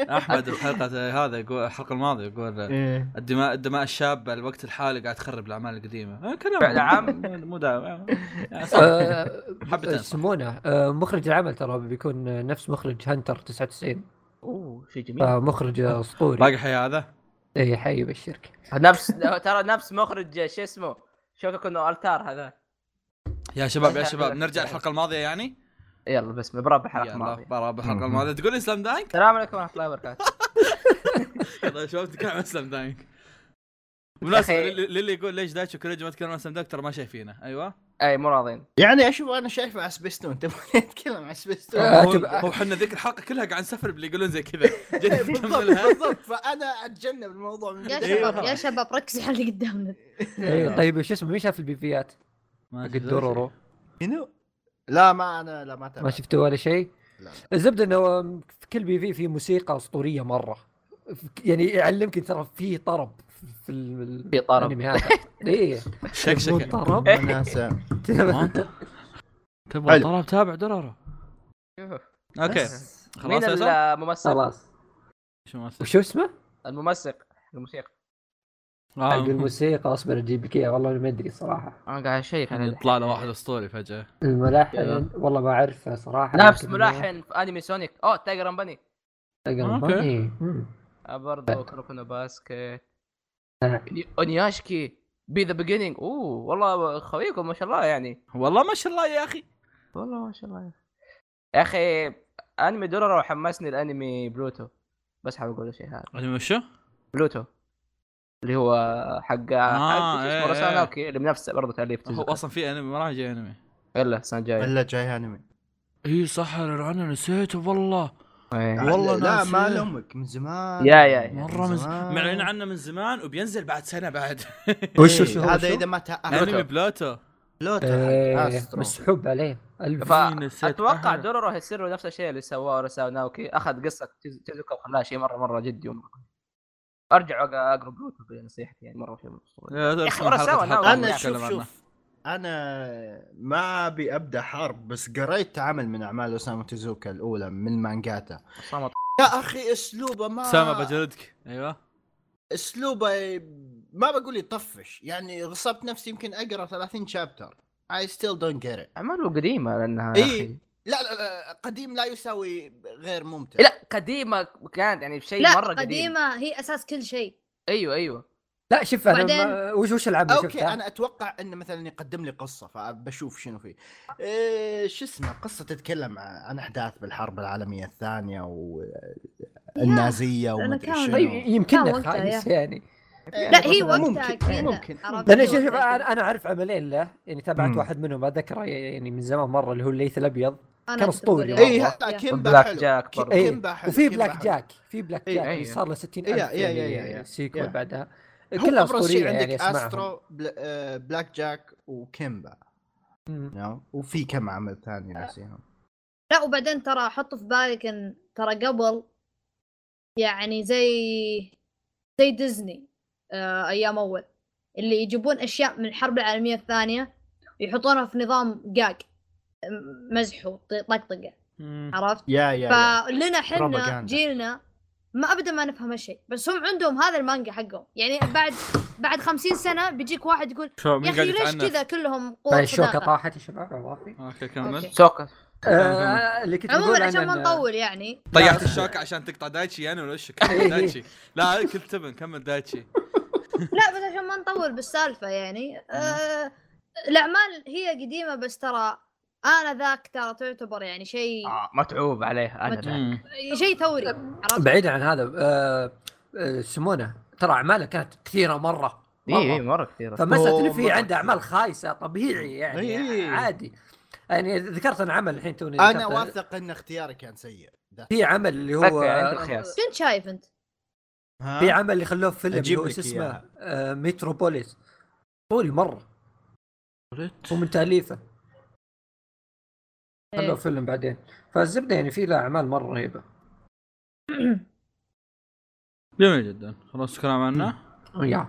B: احمد الحلقه هذا يقول الحلقه الماضيه يقول
E: إيه.
B: الدماء الدماء الشابه الوقت الحالي قاعد تخرب الاعمال القديمه آه، كلام
A: نعم
B: مو داعم <laughs>
C: آه،
B: حبتين.
C: يسمونه آه، مخرج العمل ترى بيكون نفس مخرج هنتر 99
A: اوه شيء جميل
C: فمخرج اسطوري
B: باقي حياه هذا
C: اي حي بالشركه
A: نفس ترى نفس مخرج شو اسمه شوكو كونو التار هذا
B: يا شباب يا شباب نرجع الحلقه الماضيه يعني
A: يلا بس بربع حلقه
B: يلا
A: ماضيه
B: برا الحلقه الماضيه تقول لي
A: <laughs>
B: سلام دانك
A: السلام عليكم ورحمه الله وبركاته
B: يلا يا شباب تكلم عن سلام دانك بالمناسبه
A: أخي.
B: للي للي يقول ليش دايتشو كوريجي ما تكلم عن سلام دانك ترى ما شايفينه ايوه
A: اي مو راضين
E: يعني اشوف انا شايف مع سبيستون تبغى <laughs> نتكلم عن سبيستون
C: آه،
B: هو-
C: تبقى-
B: هو احنا ذيك الحلقه كلها قاعد نسفر باللي يقولون زي كذا جد
E: <laughs>
B: <laughs>
E: بالضبط
B: نكملها
E: بالضبط فانا اتجنب الموضوع من
D: يا
E: البداية.
D: شباب يا شباب ركزوا على اللي قدامنا
C: إيه، طيب شو اسمه مين شاف البيفيات؟
B: ما
C: حق
B: شفت
C: دورورو
E: شنو؟ لا ما انا لا ما
C: ما
E: تابعت
C: شفته ولا شيء
E: لا، لا.
C: الزبده انه في كل بي في في موسيقى اسطوريه مره يعني يعلمك ترى في طرب في ال-
A: في طرب
C: الانمي هذا
B: <laughs>
C: اي مو
B: شكشكه
C: طرب <laughs>
E: وناسة.
B: تبغى
E: حلو.
B: طلب تابع دورورو اوكي
C: بس.
A: مين
B: خلاص يا
A: الممثل؟
C: خلاص
B: شو ما أسوي؟
C: وشو اسمه؟
A: الممسك الموسيقى
B: آه،
C: حق الموسيقى اصبر اجيب لك إياه، والله ما ادري صراحه
A: انا قاعد اشيك
B: يعني
A: على
B: يطلع له واحد اسطوري فجاه
C: الملحن والله ما اعرفه صراحه
A: نفس
C: لكن-
A: ملحن في انمي سونيك اوه تايجر بني
C: تقريباً.
B: أوكي.
C: إيه. مم.
A: برضه كروكونو باسكت
C: نعم.
A: اونياشكي بي ذا بيجينينج اوه والله خويكم ما شاء الله يعني
B: والله ما شاء الله يا اخي
A: والله ما شاء الله يا اخي انمي دورورو حمسني الانمي بلوتو بس حاب اقول شيء هذا
B: عجبني شو؟
A: بلوتو اللي هو حق
B: آه،
A: حق
B: إيه،
A: اسمه
B: إيه.
A: رساناوكي اللي بنفسه برضه تاليف
B: هو
A: تجزء.
B: اصلا في انمي ما راح يجي انمي
A: يلا السنه الجايه
E: الا جاي انمي
B: اي صح انا نسيته والله
A: إيه.
B: والله
E: لا
B: ناسي.
E: ما لامك من زمان
A: يا- يا- يا.
B: مره من
E: زمان.
B: معلنين عنه من زمان وبينزل بعد سنه بعد
C: وش-
E: إيه،
C: وش-
E: هذا
C: وش-
E: اذا ما تاهل
B: انمي بلوتو
E: بلوتو حق
C: إيه،
E: أسترو.
C: مسحوب عليه الف
A: فا-
B: في نسيت
A: اتوقع
B: أحد.
A: دورورو هيصير نفس الشيء اللي سواه رساناوكي اخذ قصه تيز- تيزوكا وخلاها شيء مره مره جدي ومرة. ارجع أق- اقرا بلوتو بنصيحتي يعني مره شيء مستوى.
B: يا
A: أخي، ورا سوا، ناوي.
E: انا
A: نتكلم
E: شوف شوف انا ما ابي ابدا حرب بس قريت عمل من اعمال اسامه تيزوكا الاولى من مانجاته
A: صمت
E: يا اخي اسلوبه ما
B: سامة بجلدك ايوه
E: اسلوبه ما بقول يطفش يعني غصبت نفسي يمكن اقرا 30 شابتر اي ستيل دونت جيت ات
A: اعماله قديمه لانها يا
E: إيه.
A: أخي.
E: لا لا لا قديم لا يساوي غير ممتع
A: لا قديمه كانت يعني شيء
D: لا
A: مره قديم
D: قديمه هي اساس كل شيء
A: ايوه ايوه
C: لا شوف انا
D: بعدين-
C: ما- وش وش العاب اللي
E: اوكي
C: شفتها؟
E: انا اتوقع انه مثلا يقدم لي قصه فبشوف شنو فيه إيه شو اسمه قصه تتكلم عن عن احداث بالحرب العالميه الثانيه والنازيه
D: أنا
E: ومدري
D: كان-
E: شنو
C: طيب
E: إيه،
C: يمكن
D: كان وقتها
C: خايس <laughs> يعني
D: إيه. لا هي
E: ممكن-
D: وقتها كذا
E: ممكن
D: عرفت؟
C: لان شوف
D: وقتها
C: شوف،
D: كذا.
C: انا أنا اعرف عملين له يعني تابعت
E: مم.
C: واحد منهم اتذكره يعني من زمان مره اللي هو الليث الابيض
D: أنا
C: كان
D: كنت بقول
C: أسطوري
D: يا
E: اي
D: مرة.
E: هذا
D: يا.
E: إيه،
B: إيه.
E: كيمبا
A: بلاك
E: حلو
A: جاك برضه
C: إيه.
E: كيمبا حلو
C: وفي
E: كيمبا
C: بلاك
E: حلو.
C: جاك في بلاك
E: إيه،
C: جاك
A: إيه.
C: اللي صار له 60
E: إيه،
C: ألف
E: إيه، إيه، إيه،
C: يعني
E: إيه.
C: سيكول
E: Yeah.
C: بعدها
E: هو
C: كلها
E: أبرز شيء
C: اسطوريه يعني
E: عندك
C: اسمعهم
E: استرو بل- آه، بلاك جاك وكيمبا
C: مم.
E: نعم وفي كم عمل ثاني
D: آه.
E: ناسيهم
D: لا وبعدين ترى حط في بالك ان ترى قبل يعني زي زي ديزني آه ايام اول اللي يجيبون اشياء من الحرب العالميه الثانيه ويحطونها في نظام جاج م- مزح وطقطقه عرفت؟
E: يا يا يا.
D: فلنا حنا
E: Propaganda.
D: جيلنا ما ابدا ما نفهم هالشيء بس هم عندهم هذا المانجا حقهم يعني بعد بعد خمسين سنه بيجيك واحد يقول
B: شو
D: يا
B: مين
D: اخي
B: قاعد
D: ليش
B: يتعنف
D: كذا كلهم
C: بعد
D: قوة
C: الشوكه
D: صداقه
C: طيب، طاحت يا شباب عوافي
B: اوكي كمل
D: أوكي.
A: سوكا
C: آه، اللي كنت بقول
D: عموما
C: أنا
D: عشان ما
C: إن-
D: نطول يعني
B: طيحت الشوكة عشان تقطع دايتشي انا ولا وش كمل
C: إيه.
B: دايتشي لا هذا كنت تبن كمل دايتشي
D: لا بس عشان ما نطول بالسالفة يعني آه الأعمال هي قديمة بس ترى أنا ذاك ترى تعتبر يعني شيء
A: آه متعوب عليه انا
D: متعوب.
A: ذا.
B: مم.
D: شيء ثوري عرفت؟
C: بعيدا عن هذا آه، آه، يسمونه ترى اعماله كانت كثيره مره
A: اي اي مره كثيره
C: فمسألة اللي
E: مرة
C: فيه عنده
E: كثير.
C: اعمال خايسه طبيعي يعني
E: إيه.
C: عادي يعني ذكرت انا عمل الحين توني
E: انا
C: ذكرته.
E: واثق ان اختياري كان سيء ذا-
C: في عمل اللي هو
A: اوكي عندك خياس
D: شو أنت شايف أنت؟
E: ها؟
C: في عمل اللي خلوه في فيلم اللي
E: أجيب
C: هو
E: لك
C: شو اسمه
E: إياها.
C: آه، متروبوليس طول مره ومن تاليفه خلوه
D: إيه.
C: فيلم بعدين فالزبده يعني في له اعمال مره رهيبه
B: جميل جدا خلاص الكلام عنه
C: يا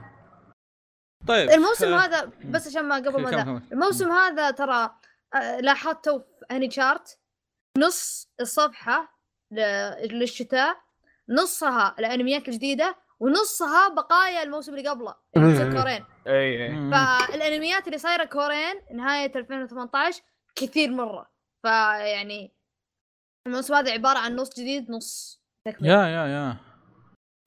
B: طيب <laughs>
D: الموسم
B: آه،
D: هذا بس عشان ما
B: <laughs>
D: قبل ما
B: كمل،
D: ذا
B: كمل.
D: الموسم هذا ترى آه، لاحظت تو في هني شارت نص الصفحة ل- للشتاء نصها الأنميات الجديدة ونصها بقايا الموسم اللي قبله يعني اللي
C: إيه.
D: بصير كورين
A: اي اي
B: مم.
D: فالانميات اللي صايره كورين نهايه 2018 كثير مره فيعني الموسم هذا عباره عن نص جديد نص تكمله
B: يا يا يا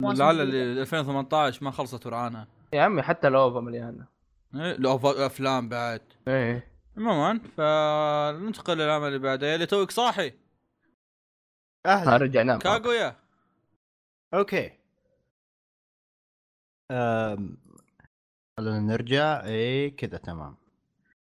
D: مواسم
B: لعل
D: جديدة.
B: اللي 2018 ما خلصت ورعانا
A: يا عمي حتى الاوفا مليانه
B: إيه، لو ف- افلام بعد
A: اي
B: عموما فننتقل للعمل اللي بعده اللي توك صاحي
E: اهلا
A: رجع نام
B: كاغويا
E: اوكي أم... خلونا نرجع اي كذا تمام إيه،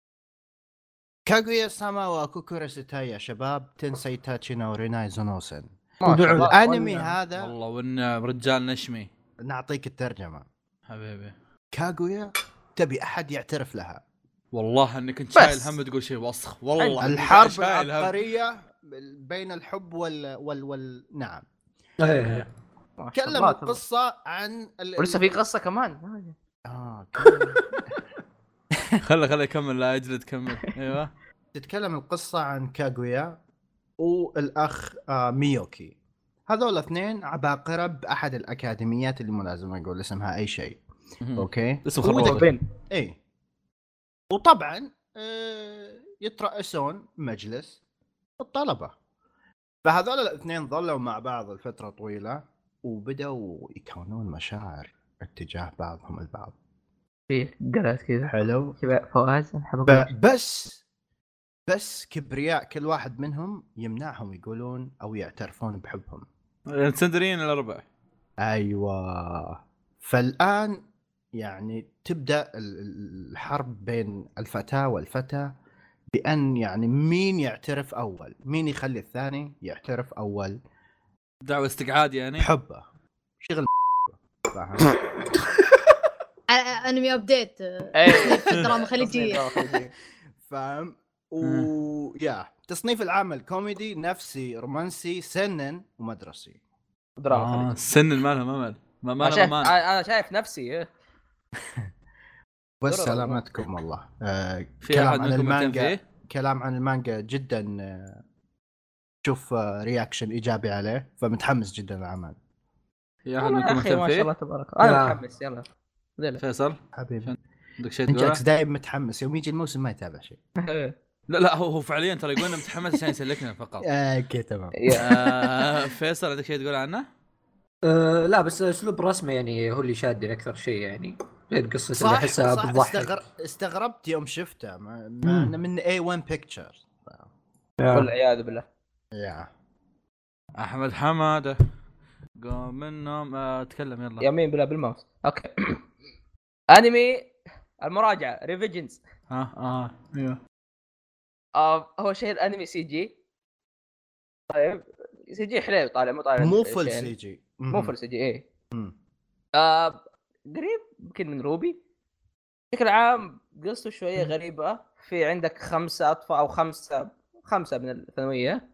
E: كاغويا ساما وكوكورا ستاي يا شباب تنسي تاتشينا وريناي زونوسن
A: ما شاء الله.
E: الانمي هذا
B: والله والنعم رجال نشمي
E: نعطيك الترجمه
B: حبيبي
E: كاغويا تبي احد يعترف لها
B: والله انك انت
A: بس.
B: شايل هم تقول شيء وسخ والله إنك
E: الحرب
B: شايل هم. <laughs>
E: العبقريه بين الحب وال وال, وال... نعم
C: إيه.
A: ما شاء
E: تكلم
A: الله.
E: القصه عن ال...
A: ولسه في قصه كمان ما أدري.
E: آه.
B: خله خله يكمل لا اجلد كمل ايوه
E: تتكلم القصة عن كاغويا والأخ آه، ميوكي هذول اثنين عباقرة بأحد الأكاديميات اللي مو لازم أقول اسمها أي شيء أوكي
B: اسم
E: طيب.
B: خربوط
A: متعبين.
E: إي وطبعا آه، يترأسون مجلس الطلبة فهذول الاثنين ظلوا مع بعض لفترة طويلة وبدأوا يكونون مشاعر اتجاه بعضهم البعض
A: في قلت كذا
E: حلو
A: شباب فواز أحب أقول لك.
E: ب- بس بس كبرياء كل واحد منهم يمنعهم يقولون او يعترفون بحبهم
B: إيه، السندرين الاربع
E: ايوه فالان يعني تبدا ال- ال- الحرب بين الفتاه والفتى بان يعني مين يعترف اول مين يخلي الثاني يعترف اول
B: دعوه استقعاد
E: <laughs>
B: يعني
E: بحبه شغل <laughs> فاهم
D: ع-
B: <laughs>
D: انمي ابديت <laughs>
A: إيه.
D: دراما خليجيه
A: دراما خليجية.
E: فاهم ويا تصنيف العمل كوميدي نفسي رومانسي سنن ومدرسي
A: دراما
E: آه،
A: خليجية.
B: سنن مالها ما مال ما
A: آه، ما
B: مالها
A: شايف
B: ما مال
A: انا أنا شايف نفسي إيه.
E: بس
A: درر
E: سلامتكم والله آه
B: في احد
E: كلام
B: منكم
E: عن
B: مهتم
E: المانجا
B: فيه؟
E: كلام عن المانجا جدا آه، شوف آه، رياكشن ايجابي عليه فمتحمس جدا للعمل
B: في احد
A: والله يا
B: منكم
A: اخي
B: مهتم
A: ما شاء الله
B: فيه؟
A: تبارك الله. انا
C: لا.
A: متحمس يلا زي <laughs> لا.
B: فيصل
E: حبيبي
B: عندك شيء
E: انت
B: تقوله؟
E: أكس دايم متحمس يوم يجي الموسم ما يتابع شيء
A: إيه.
B: لا لا هو هو فعليا ترى يقول انه متحمس عشان يسلكنا
E: <laughs>
B: فقط
E: آه، اوكي تمام
B: آه، فيصل عندك شيء تقول عنه؟
C: آه، لا بس اسلوب رسمه يعني هو اللي شادني اكثر شيء يعني غير قصه اللي
E: صح
C: احسها
E: صح
C: بتضحك
E: استغر... استغربت يوم شفته مع... مع
C: مم.
E: انه من اي 1 بيكتشر
A: والعياذ بالله
E: يا
B: احمد حماده قوم من النوم آه، تكلم يلا
A: يمين بلا بالماوس <clears throat> اوكي انمي المراجعه ريفيجنز
B: ها اه ايوه
A: آه هو شيء الانمي سي جي طيب سي جي حليو طالع مو طالع
E: مو
A: شيء.
E: فل سي
B: يعني
E: جي
A: مو فل سي جي ايه
E: مم.
A: آه قريب يمكن من روبي بشكل عام قصته شويه غريبه في عندك خمسه اطفال او خمسه خمسه من الثانويه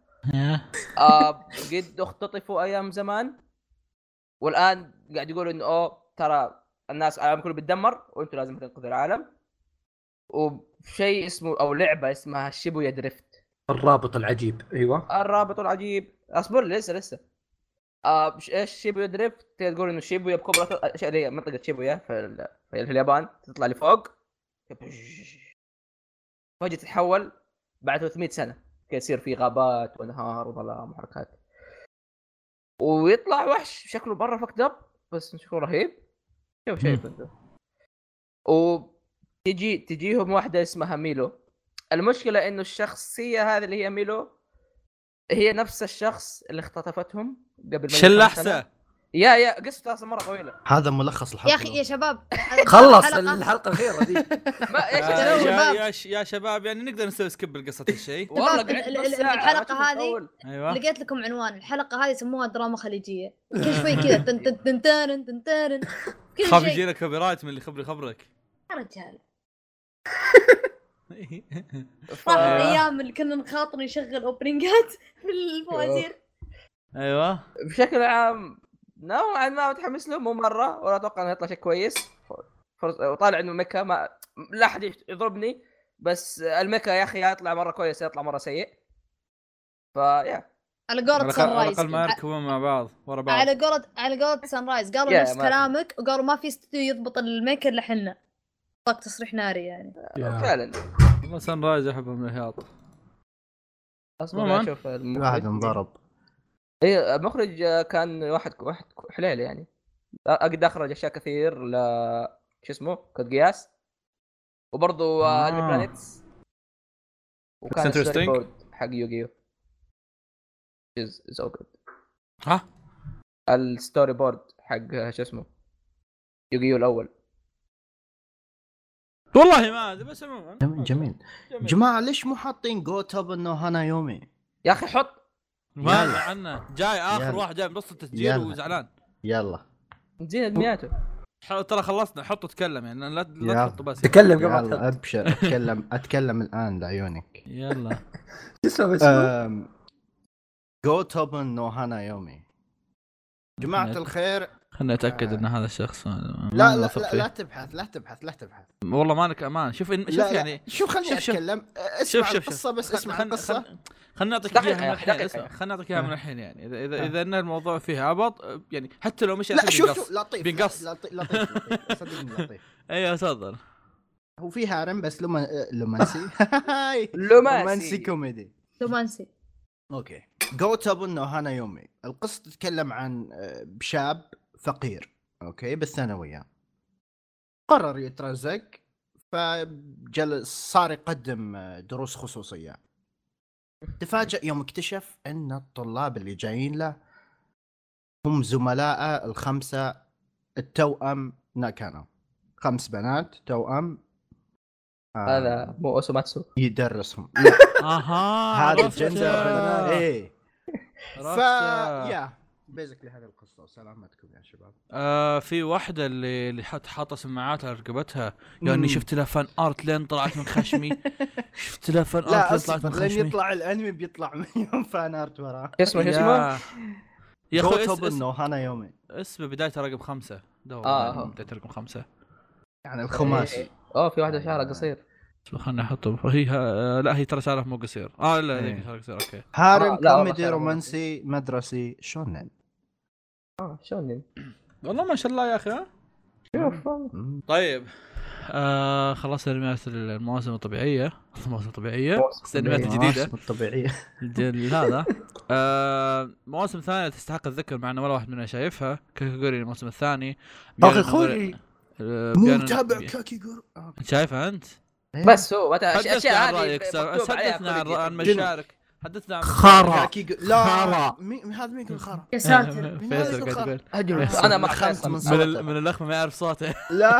A: آه قد اختطفوا ايام زمان والان قاعد يقولوا انه اوه ترى الناس العالم كله بتدمر وانتم لازم تنقذوا العالم وشيء اسمه او لعبه اسمها شيبويا دريفت
C: الرابط العجيب ايوه
A: الرابط العجيب اصبر لسه لسه آه ش- ايش شيبويا دريفت تقول انه شيبويا بكبرى اشياء اللي هي منطقه شيبويا في, ال... في ال- في اليابان تطلع لفوق فجاه تتحول بعد 300 سنه كي يصير في غابات وانهار وظلام وحركات ويطلع وحش شكله مره فكت اب بس شكله رهيب شوف شايف انت وتجي تجيهم واحده اسمها ميلو المشكله انه الشخصيه هذه اللي هي ميلو هي نفس الشخص اللي اختطفتهم قبل ما
B: شلحسه
A: يا يا قصته اصلا مره طويله
E: هذا ملخص الحلقه
D: يا اخي يا
B: <laughs>
D: شباب
C: خلص
D: الحلقة-
C: الحلقه الاخيره ذي
E: <laughs>
A: ما ايش
D: آه،
A: أسوي؟
D: يا-
B: يا,
D: شباب.
B: يا, ش- يا شباب يعني نقدر نسوي سكيب لقصه
A: <laughs>
B: الشيء
A: والله
D: ال-
A: قعدت
D: ال-
A: نص
D: ال-
A: ساعة،
D: الحلقة
A: ما شفت
D: هذه
A: أول.
B: ايوه
D: لقيت لكم عنوان الحلقه هذه يسموها دراما
B: <laughs>
D: خليجيه كل شوي كذا تن تن تن تن تن تن كل
B: خاف
D: شيء
B: يجينا كوبي رايت من اللي خبري خبرك
D: يا رجال راح
A: آه.
D: الايام اللي كنا نخاطر نشغل اوبننجات <laughs> في الفوازير
B: ايوه
A: بشكل عام نوعا ما متحمس له مو مره ولا اتوقع انه يطلع شيء كويس فرص... وطالع انه ميكا ما لا احد يش- يضربني بس الميكا يا اخي يا يطلع مره كويس يا يطلع مره سيء فيا
D: على قولة
B: على الأقل-
D: سان
B: على
D: رايز
B: الاقل ما يركبون مع بعض ورا بعض
D: على قولة على قولة سان رايز قالوا
A: يا
D: نفس
A: ما-
D: كلامك وقالوا ما في استوديو يضبط الميك الا حنا طق تصريح ناري يعني
A: فعلا
B: والله سان رايز احبهم الهياط
A: اصبر
B: عموماً.
A: اشوف
E: واحد
A: المخرج
E: انضرب
A: اي المخرج آه، كان واحد واحد حليل يعني اقدر اخرج اشياء كثير ل شو اسمه كود قياس وبرضه
B: آه.
A: آه. بلانيتس وكان
B: That's interesting.
A: الستوري بورد حق يوغيو از اوكي
B: ها
A: الستوري آه، بورد حق شو اسمه يوغيو الاول
B: والله ما ادري بس عموما
E: جميل جميل جماعه ليش مو حاطين جوتب انه هانا يومي؟
A: يا اخي حط
B: ما
E: يلا.
B: أدري عنه جاي اخر
E: يلا.
B: واحد جاي من نص التسجيل
E: يلا.
B: وزعلان
E: يلا
A: زين ادمياته
B: ح- ترى خلصنا حطوا تكلم يعني لا لا
E: يلا.
B: تحطوا بس
C: تكلم قبل لا
E: يلا
C: تحط.
E: ابشر <laughs> اتكلم اتكلم الان
B: <laughs>
E: لعيونك
B: يلا
C: شو
B: آه،
C: اسمه بس هو؟
E: جوتب انه هانا يومي جماعه الخير
B: خلنا اتاكد
E: آه.
B: ان هذا الشخص نعم. لا
E: لا لا لا, لا تبحث لا تبحث لا تبحث
B: والله مالك امان شوف إن... شوف
E: لا، لا.
B: يعني
E: شوف خليني
B: شوف- شوف.
E: اتكلم
B: شوف
E: اسمع
B: شوف
E: القصه
B: شوف
E: بس اسمع القصه
B: خلينا نعطيك
A: دقيقة
B: اياها من
A: يا أخي،
B: الحين
A: دقيقة.
B: اسمع خلينا نعطيك اياها من
C: آه.
B: الحين يعني اذا اذا اذا ان الموضوع فيه عبط أه، يعني حتى لو مشى
E: لا
B: أكيد
E: شوف
B: بيقص.
E: شوف لطيف
B: بينقص.
E: لطيف لطيف لطيف. صدقني لطيف
B: ايوه
E: <laughs>
B: تفضل
E: هو في هارم بس لما لومانسي <laughs> هاي لومانسي
A: لوماسي
E: كوميدي
D: رومانسي
E: اوكي جو تابو انه هانا يومي القصه تتكلم عن آه، شاب فقير اوكي بالثانويه قرر يترزق فجلس صار يقدم آه، دروس خصوصيه تفاجأ يوم اكتشف ان الطلاب اللي جايين له هم زملائه الخمسه التوأم ناكانا خمس بنات توأم آه،
A: هذا مو اوسوماتسو
E: يدرسهم
B: اها
E: هذا
B: عرفت. آه.
E: الجندر ايه
B: عرفت.
E: ف يا بيزكلي هذه القصه وسلامتكم يا شباب
B: آه في واحدة اللي اللي حط حاطة سماعات على رقبتها لاني شفت لها فان ارت لين طلعت من <laughs> خشمي شفت لها فان ارت
E: لا
B: لين طلعت
E: اصبر
B: من
E: لين
B: خشمي
E: يطلع الانمي بيطلع <laughs> مليون فان ارت وراه
A: شو اسمه شو اسمه؟
B: يا اخوي اس- اس-
E: انه هانا يومي
B: اسمه بدايته رقم خمسة دور
A: آه،
B: آه
A: آه.
B: بدايته رقم خمسة
E: يعني الخماسي
A: اوه إيه. في واحده شعرها قصير
B: بس خلنا احطه هي ها... آه، لا هي ترى شعرها مو قصير اه لا
E: إيه.
B: هي شعرها قصير اوكي
E: هارم
A: آه، لا، والله
E: كوميدي
A: خير.
E: رومانسي مدرسي شونن
A: اه شلون
B: والله ما شاء الله يا اخي
A: شوف
E: مم.
B: طيب آه خلصنا انميات المواسم الطبيعية <laughs> المواسم الطبيعية بس الانميات الجديدة
E: الرسم الطبيعي
B: الجيل <laughs> هذا آه مواسم ثانية تستحق الذكر مع انه ولا واحد منا شايفها كاكاجوري الموسم الثاني
E: اخي
B: بيان-
E: خوري
B: آه،
E: مو
B: بيان-
E: متابع كاكيجور
B: شايفها انت؟
E: إيه.
A: بس هو متى
B: حدثنا
A: الاشياء
B: عن
A: هذه
B: رايك سام.
A: مكتوب عليها
B: حدثنا عن
A: كل
B: عن
A: شيء.
B: مشارك حدثنا عن
E: خارا لا
B: خارا.
E: مين- هذا مين يكون خارا
D: يا
B: <laughs>
D: ساتر
E: من هذا
B: فيصل قاعد
E: الخر؟
B: يقول
A: انا ما
E: خمت من
A: خمت
B: من,
E: صوته.
B: ال- من الاخ ما يعرف
A: <laughs>
B: صوته
E: لا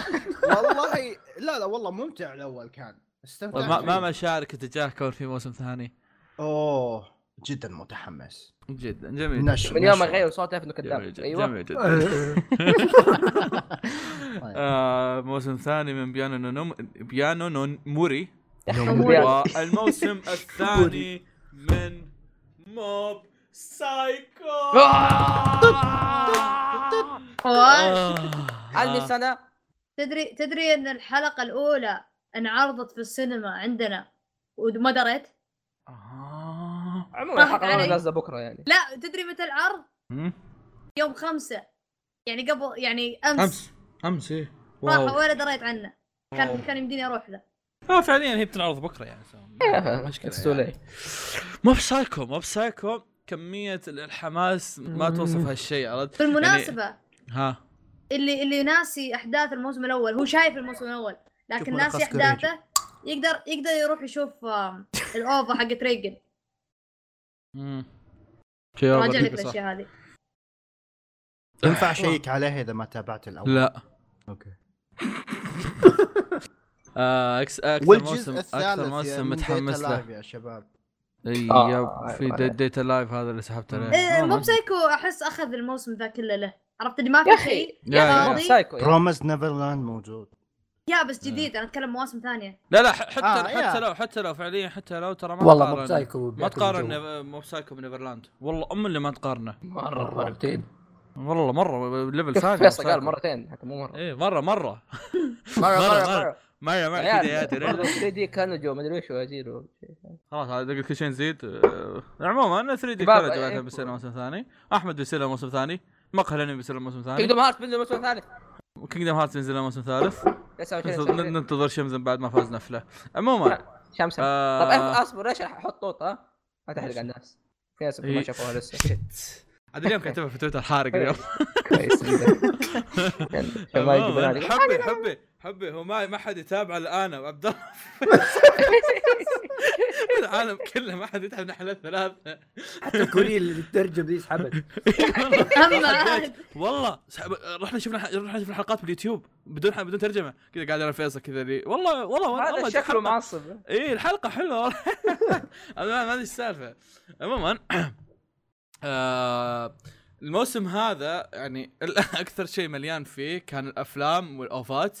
E: <laughs> والله لا لا والله ممتع الاول كان استمتعت
B: ما, ما
E: فيه.
B: مشارك اتجاه كون في موسم ثاني
E: اوه جدا متحمس
B: جدا جميل
E: نشر
A: من يوم ما
E: نشر.
A: غير صوته انه كذاب
B: جميل
A: ايوه
B: جدا جميل <laughs> جدا آه، موسم ثاني من بيانو نونوم بيانو نون موري <laughs> والموسم الثاني من موب سايكو آه.
D: أوه.
A: عني
B: آه.
A: سنه
D: تدري تدري ان الحلقه الاولى انعرضت في السينما عندنا وما دريت
B: آه.
A: عموما
D: ضحك
A: الحلقه
D: علي.
A: نازله بكره يعني
D: لا تدري متى العرض
B: مم.
D: يوم خمسة يعني قبل يعني امس,
B: امس امس ايه
D: راح
B: واو
D: ولا دريت عنه
B: واو.
D: كان كان يمديني اروح له
B: اه فعليا هي بتنعرض بكره يعني سو-
A: <laughs> إيه، it's too
B: مشكله يعني. مو بسايكو مو بسايكو كميه ال- الحماس ما توصف هالشيء عرفت يعني
D: بالمناسبه
B: ها
D: اللي اللي ناسي احداث الموسم الاول هو شايف الموسم الاول لكن
E: شوفوا
D: ناسي
E: لقصة
D: احداثه يقدر يقدر يروح يشوف آم، الاوفا حقت
B: <laughs>
D: ريجن
B: مم.
D: راجع لك
B: صح.
D: الاشياء
B: <laughs>
D: هذه
E: ينفع اشيك عليه اذا ما تابعت الاول
B: لا
E: اوكي
B: آه أكس اكثر
E: والجزء
B: موسم
E: الثالث يعني
B: اكثر
E: يا
B: موسم
E: من
B: متحمس
E: Data
B: له
E: Live يا شباب
B: اي
A: آه،
B: يب في
A: أيوة.
B: دي- ديتا لايف هذا اللي سحبت عليه
D: إيه،
B: آه،
D: مو
B: ما-
D: بسايكو احس اخذ الموسم ذا كله له عرفت اللي ما
A: يا
D: في
A: أخي،
D: شيء
B: يا- يا-
D: فاضي.
A: سايكو يعني.
E: برومز نيفرلاند موجود
D: يا
B: آه.
D: بس جديد انا اتكلم مواسم <laughs> ثانيه
B: لا لا ح- حتى
E: آه،
B: حتى
E: يا.
B: لو حتى لو فعليا حتى لو ترى ما
C: والله
B: تقارن-
C: مو بسايكو
B: ما
C: بياكل
B: تقارن
C: الجو.
B: نيف- مو بسايكو بنيفرلاند والله ام اللي ما تقارنه
C: مره
B: <laughs>
C: مرتين
B: والله مره
A: <laughs>
B: ليفل
A: شوف
B: ثاني
A: فيصل قال
B: بسايكو.
A: مرتين حتى مو مره
B: ايه مره
A: مره
B: مره <laughs>
A: مره
B: مرة-
A: مره
B: مره مره كذا يا إيه،
A: <laughs>
B: ترى.
A: عيال 3 دي كانوا جو مدري وش اجيله
B: خلاص هذا قلت كل شيء نزيد آه، عموما انا 3 دي
A: شباب،
B: كارج
A: إيه،
B: بعدها بيصير موسم ثاني احمد بيصير له موسم ثاني مقهى الانمي بيصير له موسم ثاني
A: كينجدوم هارت بنزل الموسم الثالث
B: كينجدم هارت ينزل له موسم ثالث
A: 29
B: <laughs> ننتظر-
A: 29.
B: ننتظر شمزن بعد ما فاز نفله عموما
A: شمس طب
B: آه،
A: أف- اصبر ليش راح احط طوط ها؟ ما تحرق على الناس في ناس ما
B: إيه.
A: شافوها لسه <laughs>
B: شت عاد اليوم كاتبها في تويتر حارق اليوم <laughs>
A: كويس جدا. عشان ما يجيبون عليك.
B: حبي حبي
F: حبي هو ما ما حد يتابع الا انا وعبد
B: <laughs>
F: الله العالم كله ما حد يتابع نحن الثلاثه
C: حتى الكوري اللي تترجم ذي سحبت
B: <laughs>
D: اما عاد
B: والله سحب... رحنا شفنا رحنا شفنا حلقات باليوتيوب بدون بدون ترجمه كذا قاعد انا فيصل كذا لي والله والله والله
A: هذا شكله
B: الحلقة-
A: معصب
B: اي الحلقه حلوه <laughs> والله. انا ما ما ادري إيش السالفه عموما <clears throat> آه، الموسم هذا يعني <laughs> ال- اكثر شيء مليان فيه كان الافلام والاوفات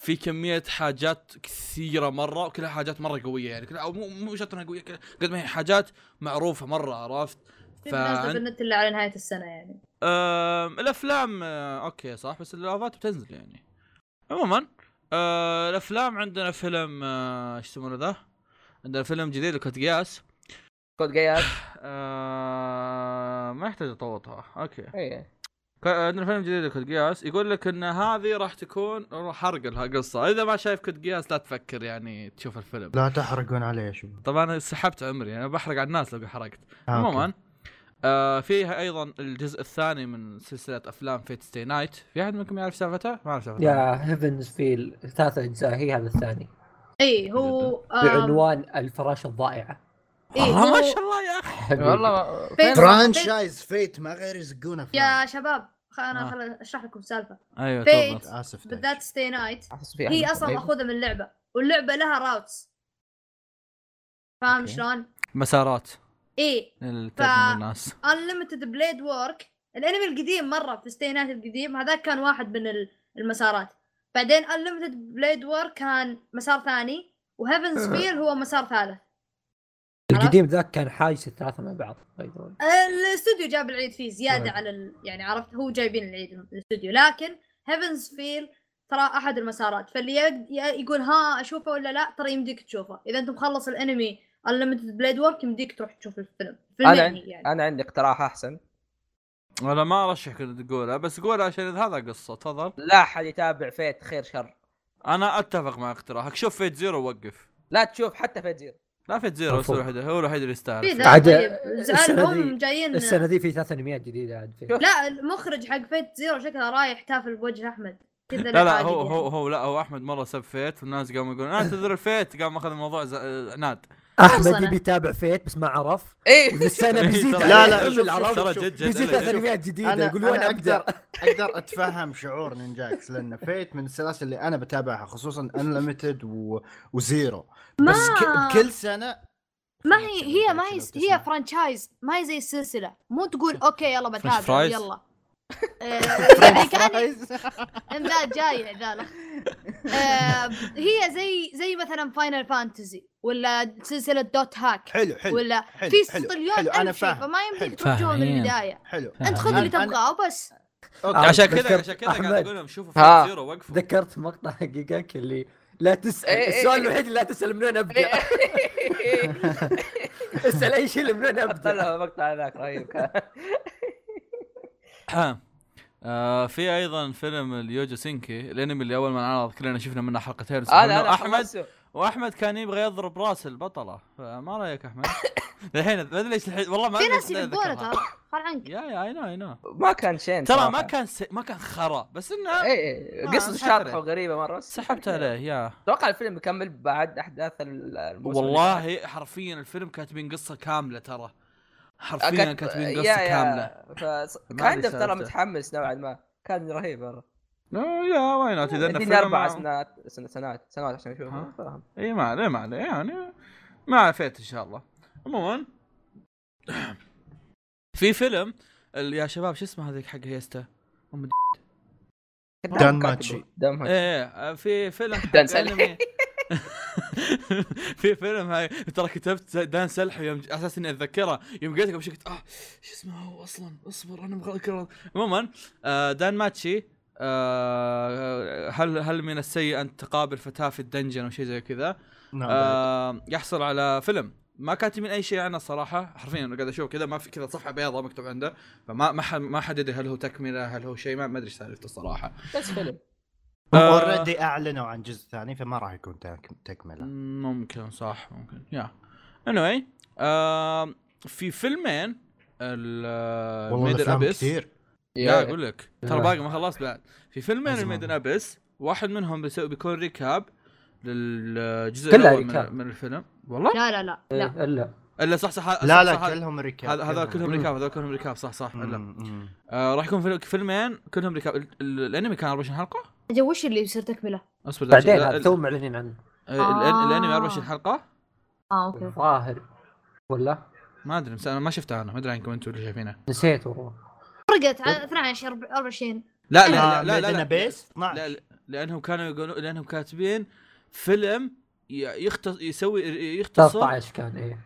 B: في كمية حاجات كثيرة مرة وكلها حاجات مرة قوية يعني كلها أو مو مو شرط انها قوية كلها- قد ما هي حاجات معروفة مرة عرفت؟
D: نازله
B: فأنت-
D: بالنت الا على نهايه السنه يعني
B: أم، الافلام أه، اوكي صح بس الاوفات بتنزل يعني عموما أه، الافلام عندنا فيلم أه، ايش يسمونه ذا عندنا فيلم جديد لكوت قياس
A: كود جياد
B: أه، ما يحتاج اطوطها اوكي
A: اي
B: ك- عندنا فيلم جديد لكوت قياس يقول لك ان هذه راح تكون راح حرق لها قصه اذا ما شايف كوت قياس لا تفكر يعني تشوف الفيلم
E: لا تحرقون علي يا شباب
B: طبعا انا سحبت عمري انا بحرق على الناس لو حرقت
E: آه، أوكي.
B: عموما آه فيها ايضا الجزء الثاني من سلسله افلام فيت ستي نايت في احد منكم يعرف سالفته؟ ما اعرف سالفته
C: يا هيفنز فيل ثلاث اجزاء هي هذا الثاني
D: اي إيه، هو
E: آه.
D: آم،
C: بعنوان الفراشه الضائعه
D: إيه،
B: والله آه، ما
D: هو-
B: شاء الله يا اخي
C: حبيبي.
A: والله فين
D: فين-
E: فرانشايز فيت ما غير يزقونه
D: يا شباب خ- انا
B: آه.
D: خل اشرح لكم السالفه
B: ايوه
D: Fate.
B: تفضل
E: اسف
D: بالذات ستي نايت
A: أحس في أحد
D: هي
A: يسمع
D: اصلا
A: لي.
D: ماخوذه من لعبه واللعبه لها راوتس فاهم
E: أوكي.
D: شلون؟ إيه،
B: مسارات
D: اي
B: للترجمة للناس
D: انليمتد بليد وورك الانمي القديم مره في ستي نايت القديم هذاك كان واحد من ال- المسارات بعدين انليمتد بليد وورك كان مسار ثاني وهيفنز فيل هو مسار ثالث
C: القديم ذاك كان حاجز الثلاثه مع بعض by the way.
D: الاستوديو جاب العيد فيه زياده
C: طيب.
D: على ال... يعني عرفت هو جايبين العيد من الاستوديو لكن هيفنز فيل ترى احد المسارات فاللي يق- ي- يقول ها اشوفه ولا لا ترى يمديك تشوفه اذا انت مخلص الانمي انليمتد بليد وورك يمديك تروح تشوف الفيلم فيلم
A: أنا
D: يعني, يعني.
A: انا عندي اقتراح احسن
B: انا ما ارشحك انك تقولها بس قولها عشان إذا هذا قصه تفضل
A: لا احد يتابع فيت خير شر
B: انا اتفق مع اقتراحك شوف فيت زيرو ووقف
A: لا تشوف حتى فيت زيرو
B: لا فيت زيرو بس هو
C: مفهوم.
B: الوحيد هو الوحيد اللي
D: في
B: يستاهل
D: ذا
C: عاد
D: طيب زعل
C: السنة
D: هم
C: ذي-
D: جايين
C: السنه ذي في ثلاث انميات جديده عاد فيه.
D: لا المخرج حق فيت زيرو شكله رايح تافل بوجه احمد كذا
B: لا لا
D: حاجة
B: هو
D: يعني.
B: هو هو لا هو احمد مره سب فيت والناس قاموا يقولون اعتذر الفيت قام اخذ الموضوع ز- آه، عناد
D: فرصة.
C: احمد يبي يتابع فيت بس ما عرف <laughs>
A: اي
C: والسنه بيزيد
B: ترى-
E: لا، لا،
B: شوف- شوف-
C: العرب
B: ترى جد جد
C: بيزيد ثلاث
B: شوف-
C: انميات جديده
E: انا
C: يقول
E: انا
C: وين ابدا
E: اقدر
B: <laughs>
E: اقدر اتفهم شعور نينجاكس لان فيت من السلاسل اللي انا بتابعها خصوصا انليمتد و... وزيرو بس ك...
D: ما-
E: بكل سنه
D: ما هي هي ما هي
E: لو تسمع.
D: هي فرانشايز ما هي زي السلسله مو تقول
E: <laughs>
D: اوكي يلا
B: فرنش
D: بتابع
B: فرايز؟
D: يلا آه، يعني كاني ذا جايع ذا لخ. آه، هي زي زي مثلا فاينل فانتزي ولا سلسله دوت هاك
E: <laughs> حلو حلو
D: ولا
E: حلو
D: في
E: حلو،
D: ستريون
E: حلو انا
D: الف شيء
E: فاهم
D: فما
E: حلو.
D: يمديك تروح جوا من
B: فاهمين.
D: البدايه
E: حلو
B: آه،
D: انت خذ اللي
E: أنا- أنا-
D: تبغاه وبس
E: اوكي
B: عشان كذا
C: تذكرت-
B: عشان كذا قاعد
C: أحمد.
B: اقول لهم شوفوا
A: ها.
B: فيت زيرو وقفوا
C: تذكرت مقطع حقيقك اللي لا تسال
A: إيه، إيه،
C: السؤال
A: إيه.
C: الوحيد اللي لا تسال من وين ابدا <laughs> اسال اي شيء من وين
A: حط
C: ابدا
A: لها مقطع ذاك
B: <laughs>
A: رهيب كان
B: ها. آه في ايضا فيلم اليوجو سينكي الانمي اللي اول ما انعرض كلنا شفنا منه حلقتين
A: انا انا
B: احمد
A: حمسه.
B: واحمد كان يبغى يضرب راس البطله فما رايك احمد؟ الحين ما ادري ليش الحين والله ما
D: في
B: أدري
D: ناس
B: ليش
D: يحبونه
B: أتذكرها.
D: ترى خل
E: <laughs>
D: عنك
B: يا يا اي نو اي نو
A: ما كان شين
B: ترى
A: صراحة.
B: ما كان س... ما كان خرا بس
A: إيه.
B: انه
A: اي
B: آه،
A: قصة
B: سحبت
A: شاطحة
B: عليه.
A: وغريبة مرة بس
B: سحبت عليه يا
A: اتوقع الفيلم بيكمل بعد احداث ال- الموسم
B: والله حرفيا الفيلم كاتبين قصه كامله ترى
A: اللي-
B: حرفيا
A: أكت-
B: كاتبين
A: آه، يا-
B: قصه
A: يا-
B: كامله
A: فص-
B: ما
A: كان
B: أدري
A: ترى
B: سالفته.
A: متحمس نوعا ما كان رهيب مرة
B: آه، يا واي نوت اذا إنه
A: اديني
B: فيلم- آه.
A: اربع سنوات سن- سنوات سنوات عشان اشوفه
B: ها؟
A: فاهم
B: اي ما عليه ما عليه يعني ما عفيت ان شاء الله عموما في فيلم ال- يا شباب شو اسمه هذيك حق هيستا
A: كنت
E: دان
A: أفكر
E: ماتشي.
A: تقول. دان ماتشي
B: ايه آه،
A: <laughs>
B: في فيلم حق
A: دان سلحي.
B: أنمي. <laughs> في فيلم هاي ترى كتبت دان سلحي يوم على اساس اني اتذكره يوم قلت قبل شوي قلت اه شو اسمه هو اصلا اصبر انا مغلق الرض. عموما آه، دان ماتشي آه، هل هل من السيء ان تقابل فتاه في الدنجن او شيء زي كذا
E: نعم،
B: آه يحصل على فيلم ما كاتبين اي شيء عنه صراحه حرفيا انا قاعد اشوف كذا ما في كذا صفحه بيضاء مكتوب عنده فما ما حد ما حدد هل هو تكمله هل هو شيء ما ما ادري إيش سالفته الصراحه
A: بس فيلم
E: هم
B: آه.
E: اوريدي اعلنوا عن جزء ثاني فما راح يكون تك- تكمله
B: ممكن صح ممكن يا anyway آه في فيلمين ال
E: والله
B: ميدن
E: الافلام
B: ابيس
E: كثير
B: لا اقول لك ترى
C: لا.
B: باقي ما خلصت بعد في فيلمين
E: أزمة.
B: الميدن ابيس واحد منهم بيسوي بيكون ريكاب للجزء
C: كلها
B: الاول من,
C: ريكاب.
B: من الفيلم والله
D: لا لا لا لا
C: إيه، الا
B: الا صح صح صح-
E: لا
B: صح
E: لا كلهم ركاب
B: هذا هذا كلهم
C: مم.
B: ريكاب هذا كلهم ريكاب صح صح الا
E: مم، مم.
B: آه راح يكون فيلم- فيلمين كلهم ريكاب ال- ال- الانمي كان 24 حلقه
D: أجل، وش اللي بيصير تكمله؟
B: اصبر لا-
C: بعدين
B: لا-
C: هذا تو معلنين عنه
B: آه، الأن- الانمي
D: آه.
B: 24 حلقه
D: اه اوكي
C: ظاهر ولا
B: ما ادري بس انا ما شفتها انا ما ادري عنكم انتم اللي شايفينها
C: نسيت والله
D: فرقت على 12 24
B: لا
E: آه،
B: لا لا لا, لا,
E: ميدنا
B: لا,
E: بيس 12
B: لا, لا لانهم كانوا يقولون لانهم كاتبين فيلم ي- يختص يسوي يختصر
C: 13 كان ايه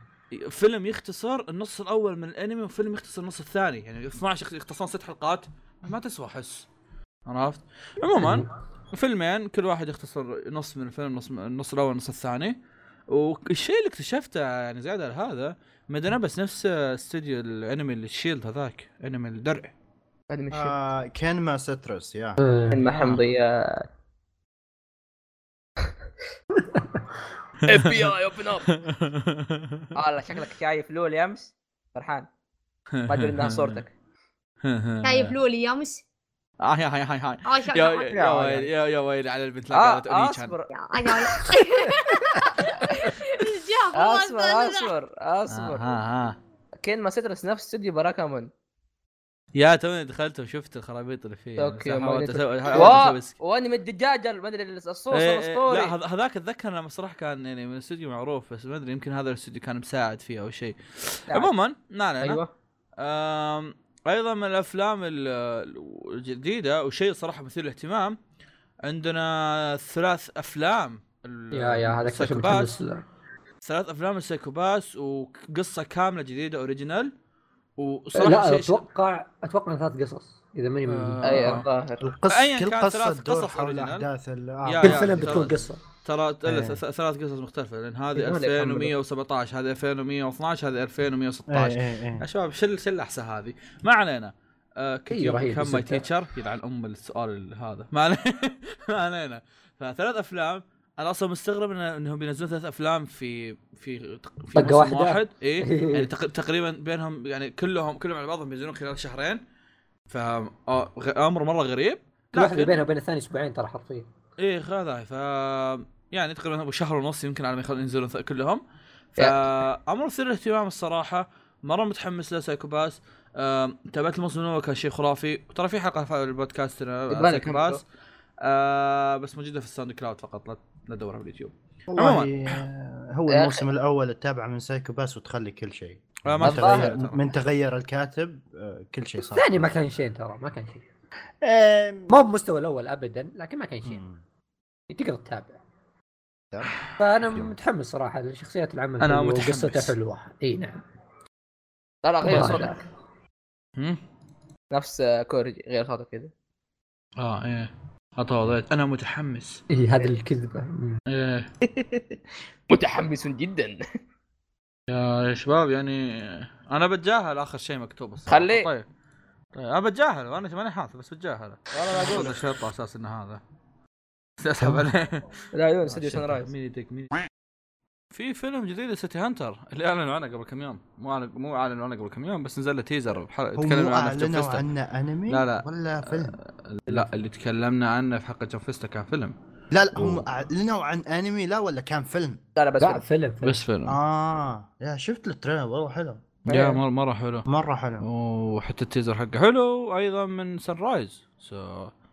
B: فيلم يختصر النص الاول من الانمي وفيلم يختصر النص الثاني يعني 12 يختصرون ست حلقات ما تسوى احس عرفت عموما فيلمين كل واحد يختصر نص من الفيلم نص النص الاول النص الثاني والشيء اللي اكتشفته يعني زياده على هذا مدنا بس نفس استوديو الانمي الشيلد هذاك
A: <laughs>
B: انمي الدرع
A: هذا مش
E: آه، كان ما سترس يا
C: آه.
A: ما
B: آه.
A: حمضي يا اف بي اي اوبن اب <laughs> والله شكلك شايف لولي امس فرحان ما ادري
B: <laughs>
A: انها صورتك
D: شايف لولي يا مس
B: آه، هاي هاي هاي هاي
D: اه
B: طيب. يا
D: شايف
B: يا ويلي يا يا ويلي على البنت لا
A: آه
B: قالت
A: آه،
B: اونيتشان
A: اصبر
B: <laughs>
D: الجاب والله
A: اصبر
D: استنى.
A: اصبر اصبر
B: آه، آه.
A: كين ما سترس نفس استوديو باراكامون
B: يا توني دخلت وشفت الخرابيط اللي فيه
A: اوكي،
B: بس
A: ما
B: حاولت
A: قلت-
B: اسوي حاولت
A: وا-
B: اسوي سك-
A: وانمي الدجاجه ما ادري الصوص
B: إيه، إيه، لا
A: الاسطوري
B: هذا- هذاك اتذكر لما صراحه كان يعني من استوديو معروف بس ما ادري يمكن هذا الاستوديو كان مساعد فيه او شيء
A: نعم.
B: عموما ما علينا
C: أيوة.
A: ايوه
B: أم، ايضا من الافلام ال- ال- الجديده وشيء صراحه مثير للاهتمام عندنا ثلاث افلام ال-
C: يا يا هذا كان شيء
B: السايكوباث.
C: متحمس له.
B: ثلاث افلام السايكوباس وقصه كامله جديده اوريجينال وصراحه
C: لا
B: شيء شيء-
C: اتوقع اتوقع إن ثلاث قصص اذا ماني
B: آه.
A: اي
C: من
A: الظاهر
E: القصة
B: أياً
E: كل
B: كان
E: قصة
B: ثلاث
E: تدور
B: قصص
E: حول
B: original.
E: أحداث ال- آه،
B: يا-
C: كل
B: يا-
C: فيلم
B: ترى-
C: بتكون قصه
B: ترى لا،
E: إيه.
B: ث- ث- ثلاث قصص مختلفة لأن
C: إيه،
B: هذه
A: يقدرون يكملوا.
B: 2117 هذه 2112 هذه
E: إيه،
B: 2116
E: إيه، إيه.
B: يا شباب شل شل الأحساء هذه ما علينا آه
C: رهيب
B: كم ماي
C: الزبدة.
B: تيتشر يلعن أم السؤال ال- هذا ما علينا <laughs> ما علينا فثلاث أفلام أنا أصلا مستغرب إن- إنهم بينزلون ثلاث أفلام في في في
C: طقة
B: موسم
C: واحدة.
B: واحد
C: <laughs>
B: إيه يعني تق- تقريبا بينهم يعني كلهم كلهم على بعضهم بينزلون خلال شهرين آه، فأمر مرة غريب
C: كل واحده
B: لكن-
C: بينها وبين الثاني اسبوعين ترى حرفيا
B: ايه هذا ف يعني تقريبا ابو شهر ونص يمكن على ما يخلون ينزلون ث- كلهم فامر مثير للاهتمام الصراحه مره متحمس له سايكوباس آم، تابعت الموسم الاول كان شيء خرافي وترى في حلقه في البودكاست
A: يبغالي
B: سايكوباس آه بس موجوده في الساوند كلاود فقط لا لا تدورها باليوتيوب
E: والله،
B: عموماً.
E: آه، هو
A: يا أخي.
E: الموسم الأول التابع من سايكو باس وتخلي كل شيء
B: آه ما
E: من
A: الظاهر.
B: تغير
E: تغير
B: ترى.
E: من تغير الكاتب آه، كل شيء صار
C: الثاني ما كان شيء ترى ما كان شيء
E: آم،
C: ما هو بمستوى الاول ابدا لكن ما كان شيء
E: مم.
C: تقدر تتابع
E: تمام.
C: فانا متحمس صراحه لشخصيات العمل
B: أنا
C: حلوة
B: متحمس.
C: وقصته حلوه اي نعم
A: لا لا غير
C: ما
A: صوتك
C: أدري.
B: هم؟
A: نفس آه، كوريجي غير صوتك كذا
B: اه ايه حتى وضعت انا متحمس
C: اي هذه الكذبه مم.
B: ايه
A: متحمس جدا
B: آه، يا شباب يعني انا بتجاهل اخر شيء مكتوب الصراحة.
A: خليه.
B: طيب طيب انا بتجاهل وانا ماني حاطه بس بتجاهل والله ما اقول الشرطه اساس انه هذا اسحب
E: <laughs>
B: عليه
A: لا عيون
B: آه،
A: استوديو سان رايز
B: مين يدق مين في فيلم جديد سيتي هانتر اللي اعلنوا عنه قبل كم يوم مو أعلن- مو اعلنوا عنه قبل كم يوم بس نزل له تيزر بحلقه
E: هو
B: تكلمنا
E: مو
B: عنه في جمب
E: أعلنوا
B: فيستا.
E: عنه أنمي
B: لا، لا. آه،
E: ولا فيلم
B: لا اللي تكلمنا عنه في حلقه جمب فيستا كان فيلم
E: لا لا هم أعلنوا عن أنمي لا ولا كان فيلم
A: لا لا بس
C: لا
A: فيلم.
C: فيلم فيلم.
B: بس فيلم
E: طيب. آه طيب. يا شفت التريلر والله حلو
B: يا
A: إيه.
B: مره مره حلو
E: مرة حلو
B: وحتى التيزر حقه حلو ايضا من سن رايز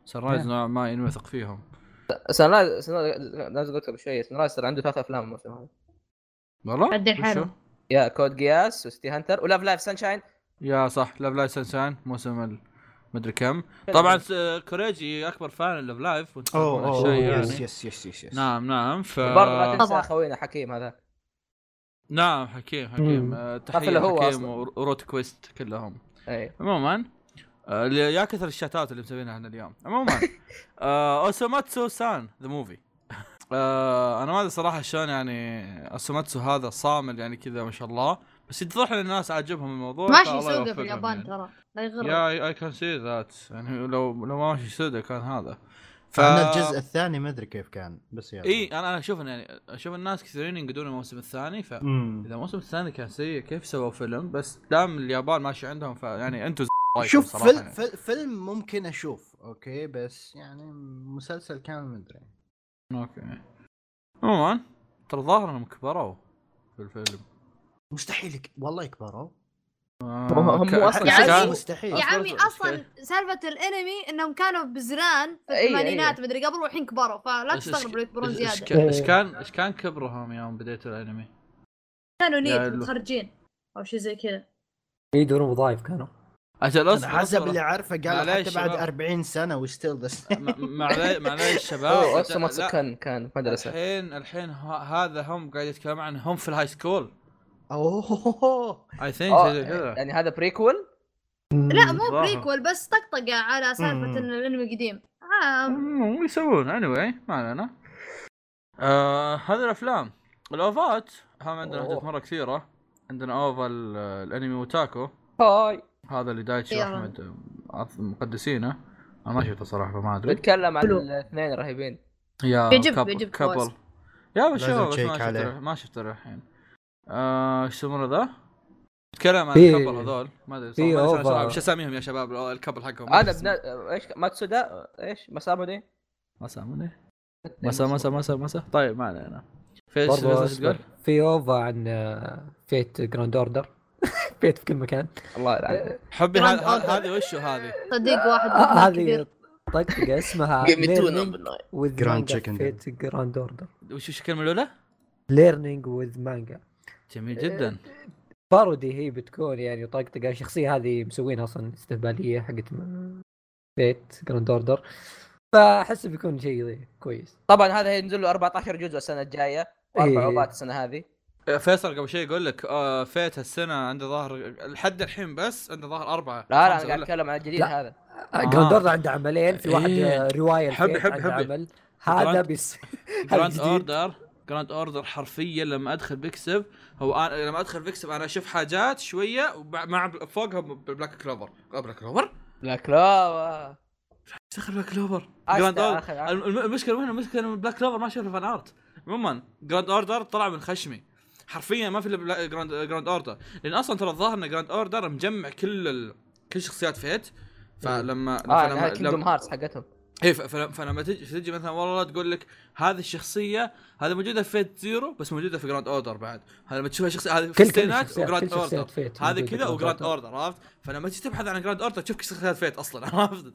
B: سن رايز نوعا ما نوثق فيهم
A: سان رايز سان رايز لازم قلت قبل شوي سان رايز ترى عنده ثلاث افلام الموسم هذا
B: والله
D: عدل
B: وشو؟
D: حاله.
A: يا كود جياس وستي هانتر ولاف لايف سانشاين
B: يا صح لاف لايف سانشاين موسم ال- مدري كم طبعا س- كوريجي اكبر فان لاف لايف وانت
E: أوه
B: تعرفون هالشيء
E: أوه يس
B: يعني
E: يس يس يس يس
B: نعم نعم ف
A: برضه لا تنسى
D: طبعاً.
A: خوينا حكيم هذاك
B: نعم حكيم حكيم
C: مم.
B: آه،
A: طفل
B: تحيه
A: هو
B: حكيم
A: أصلاً.
B: ور- وروت كويست كلهم
A: اي
B: عموما آه، ل- يا كثر الشتات اللي مسوينها احنا اليوم عموما آه، اوسوماتسو سان ذا موفي آه، انا ما ادري صراحه شلون يعني اوسوماتسو هذا صامل يعني كذا ما شاء الله بس يتضح ان الناس عاجبهم الموضوع
D: ماشي
B: فالله
D: يسوق في
B: يوفقهم
D: اليابان
B: يعني.
D: ترى لا يغرك
B: يا اي كان سي ذات يعني لو لو ما ماشي سودا كان هذا ف
E: أنا الجزء الثاني ما أدري كيف كان بس يلا
B: اي انا انا اشوف إن يعني اشوف الناس كثيرين ينقدون الموسم الثاني ف
E: مم.
B: يعني اذا الموسم الثاني كان سيء كيف سووا فيلم بس دام اليابان ماشي عندهم فيعني انتم رايكم
E: شوف
B: صراحه
E: فيلم
B: يعني.
E: فيلم- فيلم ممكن اشوف اوكي بس يعني مسلسل كامل ما ادري
B: اوكي عموما يعني. ترى الظاهر انهم كبروا في الفيلم
E: مستحيل يك- والله يكبروا
A: هم
B: آه، ك-
A: أصلاً
D: يعني-
B: كان-
E: مستحيل
D: يا
B: أصلاً
D: عمي
B: أصلاً
D: اصلا سالفه الانمي انهم كانوا
B: إيه،
D: بزران في
A: أي-
D: الثمانينات مدري قبل والحين كبروا فلا
B: إيش-
D: تستغرب لو يكبرون
B: إيش- إيش
D: زياده
B: كان- ايش كان ايش كان كبرهم يوم بديتوا الانمي؟
D: كانوا
B: يا
D: نيت
B: إلهي.
D: متخرجين او شيء زي كذا
C: يدورون وظائف كانوا
B: اجل
E: أنا
B: اصبر
E: حسب
B: أصبر.
E: اللي عارفه قال
B: معليش
E: حتى بعد
B: شباب.
E: 40 سنه وستيل ذا <laughs>
B: م- م- معلي- معليش
A: <laughs> اوه
B: شباب
A: أصلاً ما-
B: آه، لا، إيه،
A: كان كان مدرسه
B: الحين الحين ه- هذا هم قاعد يتكلم عن هم في الهاي سكول
E: <laughs> اوه
B: اي ثينك
A: أوه،
B: زي كذا
A: يعني هذا بريكول
D: لا مو
B: صراحة.
D: بريكول بس طقطقه على
E: مم.
D: سالفه ان الانمي قديم آه
B: مم، يسوون اني واي ما علينا آه هذه الافلام الاوفات هم عندنا
A: أوه.
B: احداث مره كثيره عندنا اوفا ال- الانمي وتاكو
A: هاي
B: هذا اللي دايتشي
D: يلا.
B: احمد عط- مقدسينه انا ما شفته صراحه فما ادري
A: بتكلم عن الاثنين رهيبين
B: يا
D: بيعجبك-
B: كب-
D: بيعجبك
B: كبل
D: فواز.
B: يا
E: لازم
B: شباب بس
E: تشيك
B: ما
E: عليه.
B: شفته ما شفته الحين آه، ايش يسمونه ذا؟ تكلم عن
C: في-
B: الكبل هذول ما ادري
C: في
B: صراحة، ما أدري
C: أوفا.
B: صراحة، وش اساميهم يا شباب الكبل حقهم
A: انا بنا... ايش ماتسودا ايش مسامو دي
B: مسا مسا مسا مسا مسا طيب ما علينا في ايش
C: برضو
B: إيش تقول؟
C: في اوفا عن آه، فيت جراند اوردر <laughs> فيت في كل مكان
A: الله يلعنك
B: حبي
D: Grand
B: هذا- هذا-
D: Order.
B: هذه وش هذه؟ <laughs>
D: صديق واحد
C: آه،
D: بالكبير.
C: هذه طقطقه اسمها ليرنينج وذ
E: Grand Chicken
C: فيت جراند اوردر
B: وش وش الكلمه الاولى؟
C: ليرنينج وذ مانجا
B: جميل جدا
C: بارودي هي بتكون يعني طقطقه الشخصيه هذه مسوينها اصلا استهباليه حقت م- فيت جراند اوردر فاحس بيكون شيء كويس
A: طبعا هذا هينزل له 14 جزء السنه الجايه واربع
C: إيه.
A: عقوبات السنه هذه
B: آه، فيصل قبل شوي يقول لك آه، فيت هالسنه عنده ظاهر لحد الحين بس عنده ظاهر اربعه
A: لا لا
B: خمسة
A: انا قاعد
B: ولا-
A: اتكلم عن الجديد
C: لا.
A: هذا
C: جراند اوردر آه، عنده عملين في واحد
B: آه، إيه.
C: آه، روايه
B: حبي-
C: لفيت
B: حبي-
C: عنده
B: حبي.
C: عمل هذا
B: جراند-
C: بس
B: جراند
C: الجديد.
B: اوردر جراند اوردر حرفيا لما ادخل بيكسب هو أنا لما ادخل بيكسب انا اشوف حاجات شويه وبع- مع فوقها بلاك كلوفر بلاك كلوفر
A: لا كلاوة
B: دخل بلاك كلوفر
A: أستاذ
B: جراند
A: آه، آخر
B: اوردر
A: عام.
B: الم- المشكله وين المشكله إن بلاك كلوفر ما شاف الفان ارت عموما جراند اوردر طلع من خشمي حرفيا ما في الا جراند جراند اوردر لان اصلا ترى الظاهر ان جراند اوردر مجمع كل ال... كل شخصيات فيت فلما
A: اه
B: فلما-
A: هذا كينجدوم
B: لما-
A: هارتس حقتهم
B: ايه ف- فلما فلما تجي تجي مثلا والله تقول لك هذه الشخصيه هذه موجوده في فيت زيرو بس موجوده في جراند اوردر بعد هذا لما تشوفها شخصيه هذه في
C: كل- كل
B: الستينات
C: شخصيات-
B: وجراند
C: كل شخصيات
B: اوردر
C: فيت
B: هذا
C: موجودة
B: كذا
C: في
B: وجراند
C: جراند أوردر.
B: اوردر عرفت فلما تجي تبحث عن جراند اوردر تشوف كل شخصيات فيت اصلا <laughs> عرفت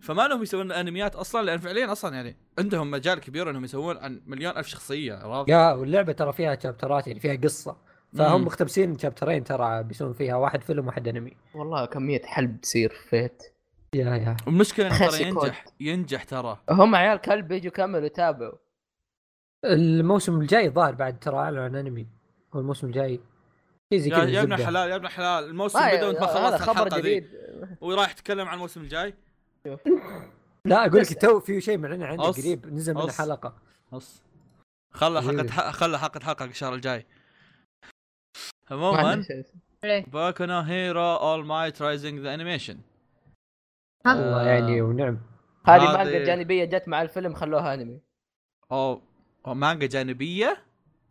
B: فما لهم يسوون انميات اصلا لان فعليا اصلا يعني عندهم مجال كبير انهم يسوون عن مليون الف شخصيه عرفت
C: يا واللعبه ترى فيها شابترات يعني فيها قصه فهم
B: مم.
C: مختبسين شابترين ترى بيسوون فيها واحد فيلم واحد انمي
A: والله كميه حلب تصير فيت
C: يا يا
B: المشكله انه
A: <laughs>
B: ترى
A: خاسي كود.
B: ينجح ينجح ترى
A: هم عيال كلب يجوا كملوا يتابعوا
C: الموسم الجاي ظاهر بعد ترى اعلن عن انمي هو الموسم الجاي شيء زي
B: يا
C: كذا
B: يا ابن
C: زبدة.
B: الحلال يا ابن الحلال الموسم
A: آه،
B: بدا وانت ما
A: هذا
B: خلصت
A: خبر
B: الحلقه ذي
A: جديد
B: ورايح يتكلم عن الموسم الجاي
C: لا اقول لك
A: بس-
C: تو في شيء معلن عنه
B: أص-
C: قريب نزل منه
B: أص.
C: حلقه
B: خلاص خلى
C: غريبة.
B: حلقة خلى حلقة حلقة الشهر الجاي
A: ما عندنا
B: عموما
A: شيء.
D: ليه؟
B: باكو نو هيرو اول مايت رايزنج ذا انيميشن
D: ها؟
B: آه.
C: والله يعني ونعم
A: هذه
B: هذه-
A: مانجا جانبيه جت مع الفيلم خلوها انمي
B: او أو مانجا جانبية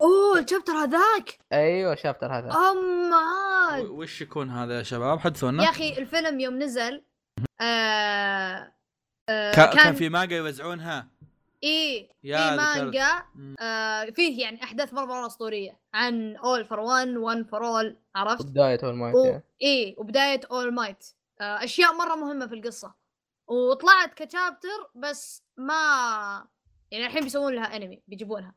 D: اوه الشابتر هذاك
A: ايوه شابتر
D: آه.
A: هذا
D: ام عاد.
B: و- وش يكون هذا يا شباب حدثونا
D: آه. يا اخي الفيلم يوم نزل آه آه
B: كا- كان في مانجا يوزعونها
D: اي
B: يا
D: في
B: ذكرت.
D: مانجا
B: مم.
D: آه فيه يعني احداث مره مره اسطوريه عن اول فور 1 1 فور اول عرفت؟
A: بدايه اول
D: و...
A: ما
D: اي وبدايه اول مايت آه اشياء مره مهمه في القصه وطلعت كشابتر بس ما يعني الحين بيسوون لها انمي بيجيبونها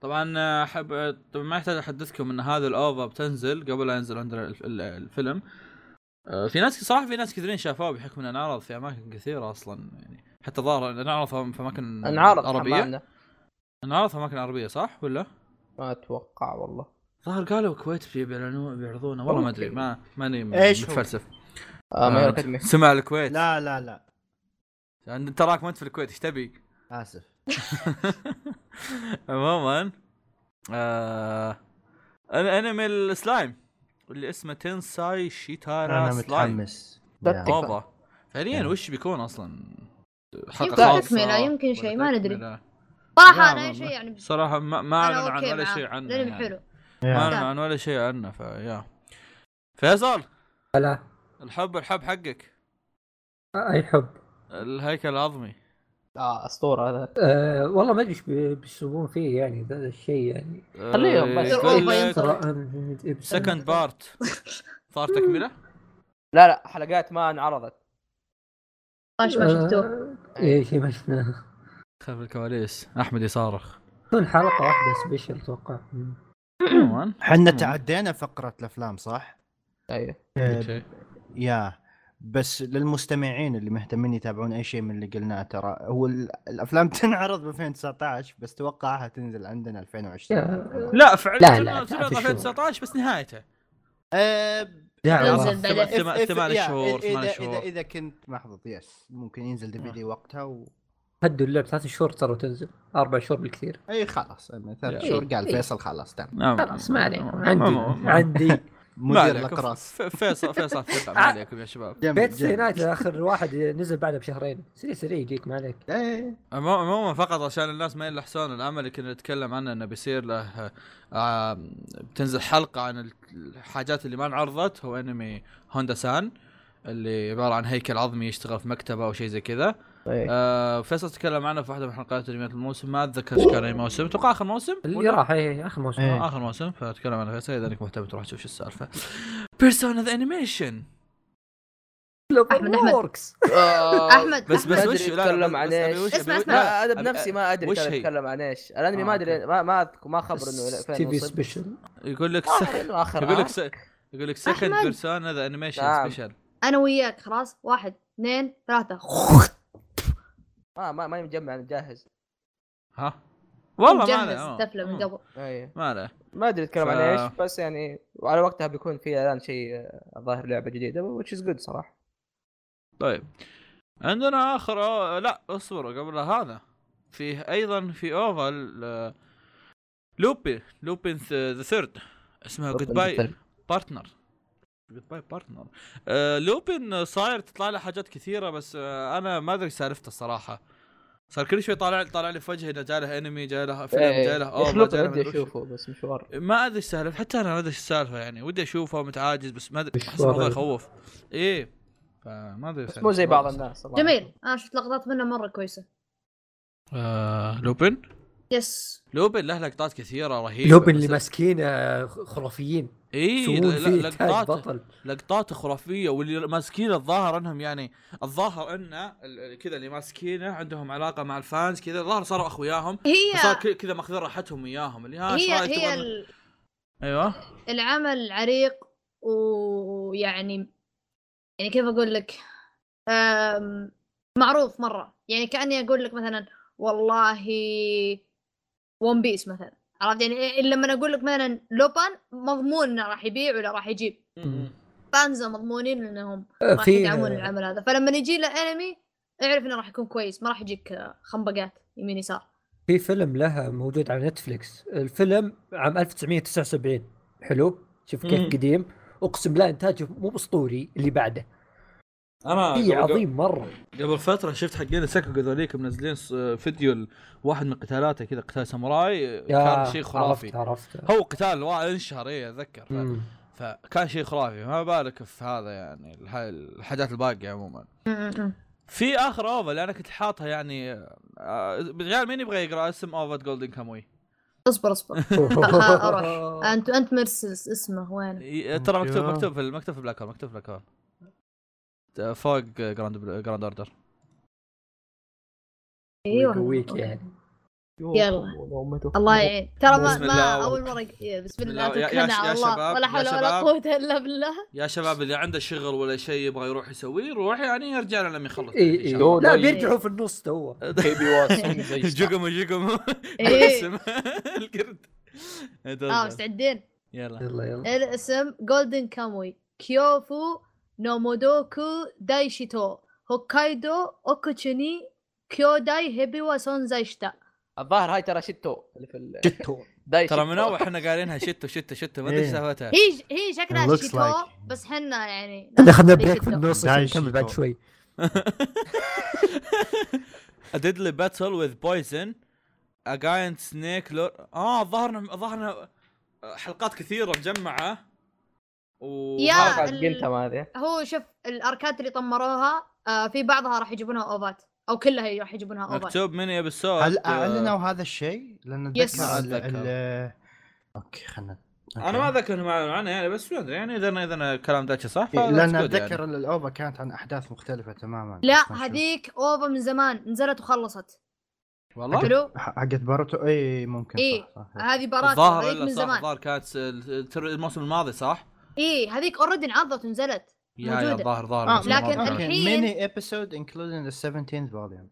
B: طبعا احب طبعا آه، ما يحتاج احدثكم ان هذا الاوفا بتنزل قبل لا ينزل عندنا الف- ال- الفيلم آه، في ناس صراحه في ناس كثيرين شافوه بحكم انه انعرض في اماكن كثيره اصلا يعني حتى ظهر انعرض في اماكن
A: انعرض
B: عربيه
A: حمامنا
B: انعرض في اماكن عربيه صح ولا؟
A: ما اتوقع والله
B: ظهر قالوا الكويت بي- بيعلنوا بيعرضونه والله ما ادري ما ماني
E: إيش هو؟
B: متفلسف
A: آه ما
B: آه،
A: هي كلمه
B: سمع الكويت لا
E: لا لا لا
B: تراك ما انت في الكويت ايش تبي؟ <laughs>
E: اسف
B: عموما آه... انا انمي السلايم اللي اسمه تنساي شيتارا
E: انا
B: سلايم
E: متحمس
A: لا
E: يا.
A: تكفى.
E: <laughs>
B: اوفا فعليا
E: يعني.
B: وش بيكون اصلا؟
D: يمكن
B: خاصة
D: تكملة، يمكن
B: ولا
D: شيء، ما ندري.
B: تكملة؟
D: صراحه
B: لا،
D: انا
B: ما-
D: اي شيء يعني
B: صراحة ما, ما
D: انا
B: اعلنوا عن
D: اوكي
B: ولا
D: معاه
B: شيء عنه
D: الانمي
B: يعني.
D: حلو
B: ما
E: يا.
B: اعلنوا عن ولا شيء عنه فيا فيصل
C: هلا
B: الحب الحب حقك
C: اي حب
B: الهيكل العظمي آه،
G: اه اسطوره هذا
C: أه والله ما ادري ايش بي- بيسوون فيه يعني ذا ذا الشيء يعني
B: آه،
G: خليهم بس.
B: سكند بارت صار تكمله؟
A: لا لا حلقات ما انعرضت
D: طاش ما شفتوه
C: اي آه، إيه، شيء ما شفناه
B: خلف الكواليس احمد يصارخ
C: تكون حلقه واحده سبيشل اتوقع مم.
B: عموما
E: احنا تعدينا فقره الافلام صح؟
A: ايوه
B: إيه.
E: آه، يا بس للمستمعين اللي مهتمين يتابعون اي شيء من اللي قلناه ترى هو ال- الافلام <laughs> تنعرض ب 2019 بس توقعها تنزل عندنا أه، 2020
C: يا-
B: لا فعليا
C: لا، لا،
B: فيلم
C: تعرف شو.
B: 2019 بس نهايته
E: آه،
C: يا
D: تنزل
C: الله.
D: بعد-
B: ثم-
E: if- if-
B: ثمان
E: يا،
B: شهور،
E: إذا-
B: ثمان
E: إذا-
B: شهور.
E: اذا كنت محظوظ يس ممكن ينزل دي في دي وقتها و...
C: هدوا اللعب ثلاث شهور ترى تنزل اربع شهور بالكثير
E: اي خلاص أنا ثلاث
C: يا.
E: شهور قال
C: إيه.
E: فيصل خلاص تمام
B: نعم
C: خلاص ما عليكم
B: نعم.
C: عندي
B: ما- ما- <laughs>
C: عندي
B: ما
E: مدير
B: عليكم.
E: الاقراص
B: ف- فيصل <laughs> فيصل ثقة ما عليكم يا شباب
E: جميل،
C: بيت
E: جميل.
C: سينايت اخر واحد نزل بعده بشهرين سريع سريع يجيك ما عليك
E: إيه.
B: عمو- عموما فقط عشان الناس ما يلحسون العمل اللي كنا نتكلم عنه انه بيصير له آه بتنزل حلقه عن ال- الحاجات اللي ما انعرضت هو انمي هوندا سان اللي عباره عن هيكل عظمي يشتغل في مكتبه او شيء زي كذا
A: طيب
B: آه فيصل تكلم عنه في واحده من حلقات انميات الموسم ما اتذكر ايش كان اي موسم اتوقع اخر موسم
C: اللي
B: ولا-
C: راح اي اخر موسم
E: إيه.
B: اخر موسم فتكلم عنه فيصل اذا انك مهتم تروح تشوف شو السالفه بيرسونا ذا انيميشن
D: أحمد- أحمد.
C: ووركس
A: آه،
D: احمد
B: بس
D: أحمد.
B: بس وش لا، لا،
A: يتكلم
B: بس-
A: عن
B: بس أبي
A: إيش؟
B: وش-
D: اسمع،
B: أبي-
D: اسمع.
B: لا،
A: لا انا
B: أبي-
A: بنفسي ما ادري
B: وش
A: كان
B: هي؟
A: اتكلم عن ايش الانمي
B: آه،
A: ما ادري
B: أوكي.
A: ما ما أذكر- ما خبر انه إلى فين
C: تي في
A: وصل
C: سبيشل
B: يقول لك
A: آخر-
B: سك...
A: إلى آخر
B: يقول لك
A: آه.
B: س... يقول لك سكند
D: أحمد.
B: بيرسونا ذا انيميشن
A: نعم.
B: سبيشل
D: انا وياك خلاص واحد اثنين ثلاثة
A: ما آه، ما ما مجمع جاهز
B: ها والله ما آه.
D: مجهز
B: له
D: التفلة من قبل
A: ايوه
B: ما له
A: ما ادري اتكلم
B: ف-
A: عن ايش بس يعني وعلى وقتها بيكون في الان شيء آه، ظاهر لعبه جديده which is good صراحه
B: طيب عندنا اخر أو... لا اصبروا قبل هذا فيه ايضا في اوفل آه، لوبي لوبين ذا ثيرد اسمها جود باي بارتنر جود باي بارتنر لوبين آه، صاير تطلع له حاجات كثيره بس آه، انا ما ادري سالفته الصراحه صار كل شوي طالع طالع لي في وجهي انه جاله انمي جاله فيلم
A: إيه،
B: آه، جاله اوفا
A: يخلط
B: جاله
A: ودي
B: مدري وش.
A: اشوفه بس مشوار
B: ما ادري السالفه حتى انا ما ادري ايش السالفه يعني ودي اشوفه متعاجز بس ما ادري احس
C: وضعه؟
B: الموضوع يخوف ايه فما ادري
A: بس
B: السالفة
A: مو زي بعض
B: صراحة.
A: الناس الله
D: جميل
A: يرحمه.
D: انا شفت لقطات منه مرة كويسة
B: آه لوبن
D: يس
B: لوبن له لقطات كثيره رهيبه
C: لوبن
B: إيه، بس-
C: اللي ماسكين آه، خرافيين
B: ايه
C: يسوون
B: لا-
C: فيه
B: لا-
C: تاج
B: لقطات
C: بطل
B: لقطات خرافيه واللي ماسكين الظاهر انهم يعني الظاهر انه ال- ال- كذا اللي ماسكينه عندهم علاقه مع الفانز كذا الظاهر صاروا اخوياهم
D: هي
B: صار ك- كذا ماخذين راحتهم وياهم اللي ها آه، إيش
D: هي
B: رأيك
D: هي
B: تبغى-
D: ال-
B: ايوه
D: العمل عريق ويعني يعني كيف اقول لك أم، معروف مره يعني كاني اقول لك مثلا والله ون بيس مثلا عرفت يعني لما اقول لك مثلا لوبان مضمون انه راح يبيع ولا راح يجيب فانزا مضمونين انهم
C: آه،
D: راح
C: في
D: يدعمون
C: آه،
D: العمل هذا فلما يجي له انمي اعرف انه راح يكون كويس ما راح يجيك آه، خنبقات يمين يسار
C: في فيلم لها موجود على نتفلكس الفيلم عام 1979 حلو شوف كيف
B: مم.
C: قديم اقسم بالله انتاجه مو اسطوري اللي بعده
B: انا
C: في عظيم مره
B: قبل فتره شفت حقين ساكوكو ذوليك منزلين ص- فيديو ال- واحد من قتالاته كذا قتال ساموراي كان شيء
C: عرفت
B: خرافي طيب.
C: عرفت
B: هو قتال وا- انشهر اي اتذكر ف-
C: مم.
B: فكان شيء خرافي ما بالك في هذا يعني الح- الحاجات الباقيه عموما في اخر اوفا اللي انا كنت حاطها يعني آه، بالرجال مين يبغى يقرا اسم اوفا جولدن كاموي
C: <laughs>
D: اصبر اصبر آه، أروح. انت انت مرسلس اسمه وين
B: ي- ترى
E: أوكي.
B: مكتوب مكتوب في المكتب في بلاك هول مكتوب في بلاك هول آه، فوق جراند بل- جراند اوردر
D: أيوه.
C: ويك يعني
D: يلا إيه الله يعين ترى ما,
B: بسم الله
D: ما
B: و-
D: اول مره ق- يا إيه، بسم الله
B: الله. يا- يا
D: توكلنا
B: ش-
D: على
B: يا
D: الله
B: شباب، يا
D: ولا حول ولا
B: شباب.
D: قوه الا
B: <laughs>
D: بالله
B: يا شغل. شباب اللي عنده شغل ولا شيء يبغى يروح يسويه يروح يعني يرجع لنا لما يخلص
C: اي
B: إن
C: اي
B: شاء الله. طيب.
C: لا
D: إيه.
C: بيرجعوا في النص تو
B: <laughs>
G: بيبي واتسون زي
B: جوجمو
D: <laughs>
B: جوجمو
D: ايه
B: <laughs> اسم القرد Eh,
D: اه مستعدين Eh,
B: يلا
C: يلا
D: إيه.
C: يلا
D: الاسم جولدن كاموي كيوفو نومودوكو دايشيتو هوكايدو اوكوتشيني كيوداي هيبيوا سونزايشتا
A: الظاهر هاي ترى شتو اللي في ال-
B: <laughs>
E: جتو
A: داي
B: ترى من
A: شتو.
D: آه،
B: اول احنا قايلينها شتو شتو شتو ما ادري ايش
E: إيه.
B: سالفتها
D: هي هي
E: It
D: شكلها
E: looks
D: شيتو
E: like-
D: بس حنا يعني
C: اخذنا بريك في
D: دايشيتو.
C: النص عشان
E: دايشيتو.
C: نكمل بعد شوي
B: A deadly battle with poison A giant Ah, snake lord اه ظهرنا ظهرنا حلقات كثيرة آه، مجمعة و...
A: آه،
D: يا
H: حركة
D: ال-
H: جنتم هذه
D: هو شوف الاركات اللي طمروها آه في بعضها راح يجيبونها اوفات او كلها راح يجيبونها اوفات
B: مكتوب مني بالسوق
E: هل اعلنوا هذا الشيء؟ لان
D: يس.
E: اتذكر ال-
B: أتذكر.
E: ال- اوكي خلنا أوكي.
B: انا ما اذكر انهم اعلنوا عنه يعني بس يعني اذا اذا الكلام ده صح
E: إيه،
B: فلا
E: لان
B: تسكت
E: اتذكر يعني. الاوفا كانت عن احداث مختلفه تماما
D: لا
E: بس ما شفت.
D: هذيك اوفا من زمان نزلت وخلصت
B: والله
D: حلو
E: ح- حقت باروتو اي ممكن
D: إيه.
E: صح صح
D: هذه بارات
B: الظاهر
D: هذيك
B: الا
D: من
B: صح
D: زمان
B: الظاهر كانت س- التر- الموسم الماضي صح؟
D: اي هذيك اوريدي انعرضت ونزلت
B: يا يا
D: موجودة.
B: الظاهر ظاهر
D: آه،
B: الموسم الماضي
D: لكن
B: كانت.
E: اوكي
D: الحين-
E: ميني ابيسود انكلودينج ذا 17 فوليوم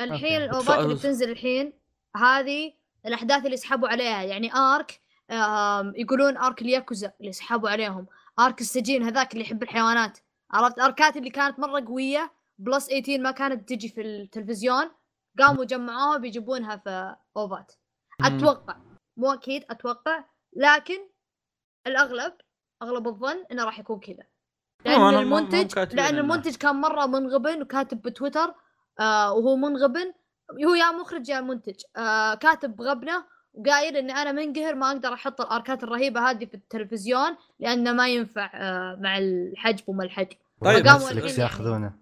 D: الحين
E: أوكي.
D: الاوفات اللي
B: أتف-
D: بتنزل الحين هذه الاحداث اللي يسحبوا عليها يعني ارك آم، يقولون ارك الياكوزا اللي يسحبوا عليهم ارك السجين هذاك اللي يحب الحيوانات عرفت اركات اللي كانت مره قويه بلس 18 ما كانت تجي في التلفزيون قاموا جمعوها بيجيبونها في اوفات اتوقع مو اكيد اتوقع لكن الاغلب اغلب الظن انه راح يكون كذا
B: هم- هم-
D: لان
B: هم
D: المنتج
B: كاتبين
D: لان
B: إنه-
D: المنتج كان مره منغبن وكاتب بتويتر آه وهو منغبن هو يا مخرج يا منتج آه كاتب بغبنه وقايل اني انا منقهر ما اقدر احط الاركات الرهيبه هذه في التلفزيون لانه ما ينفع آه مع الحجب وما <laughs> الحجب
B: طيب،
E: نتفلكس
D: والحين
E: ياخذونه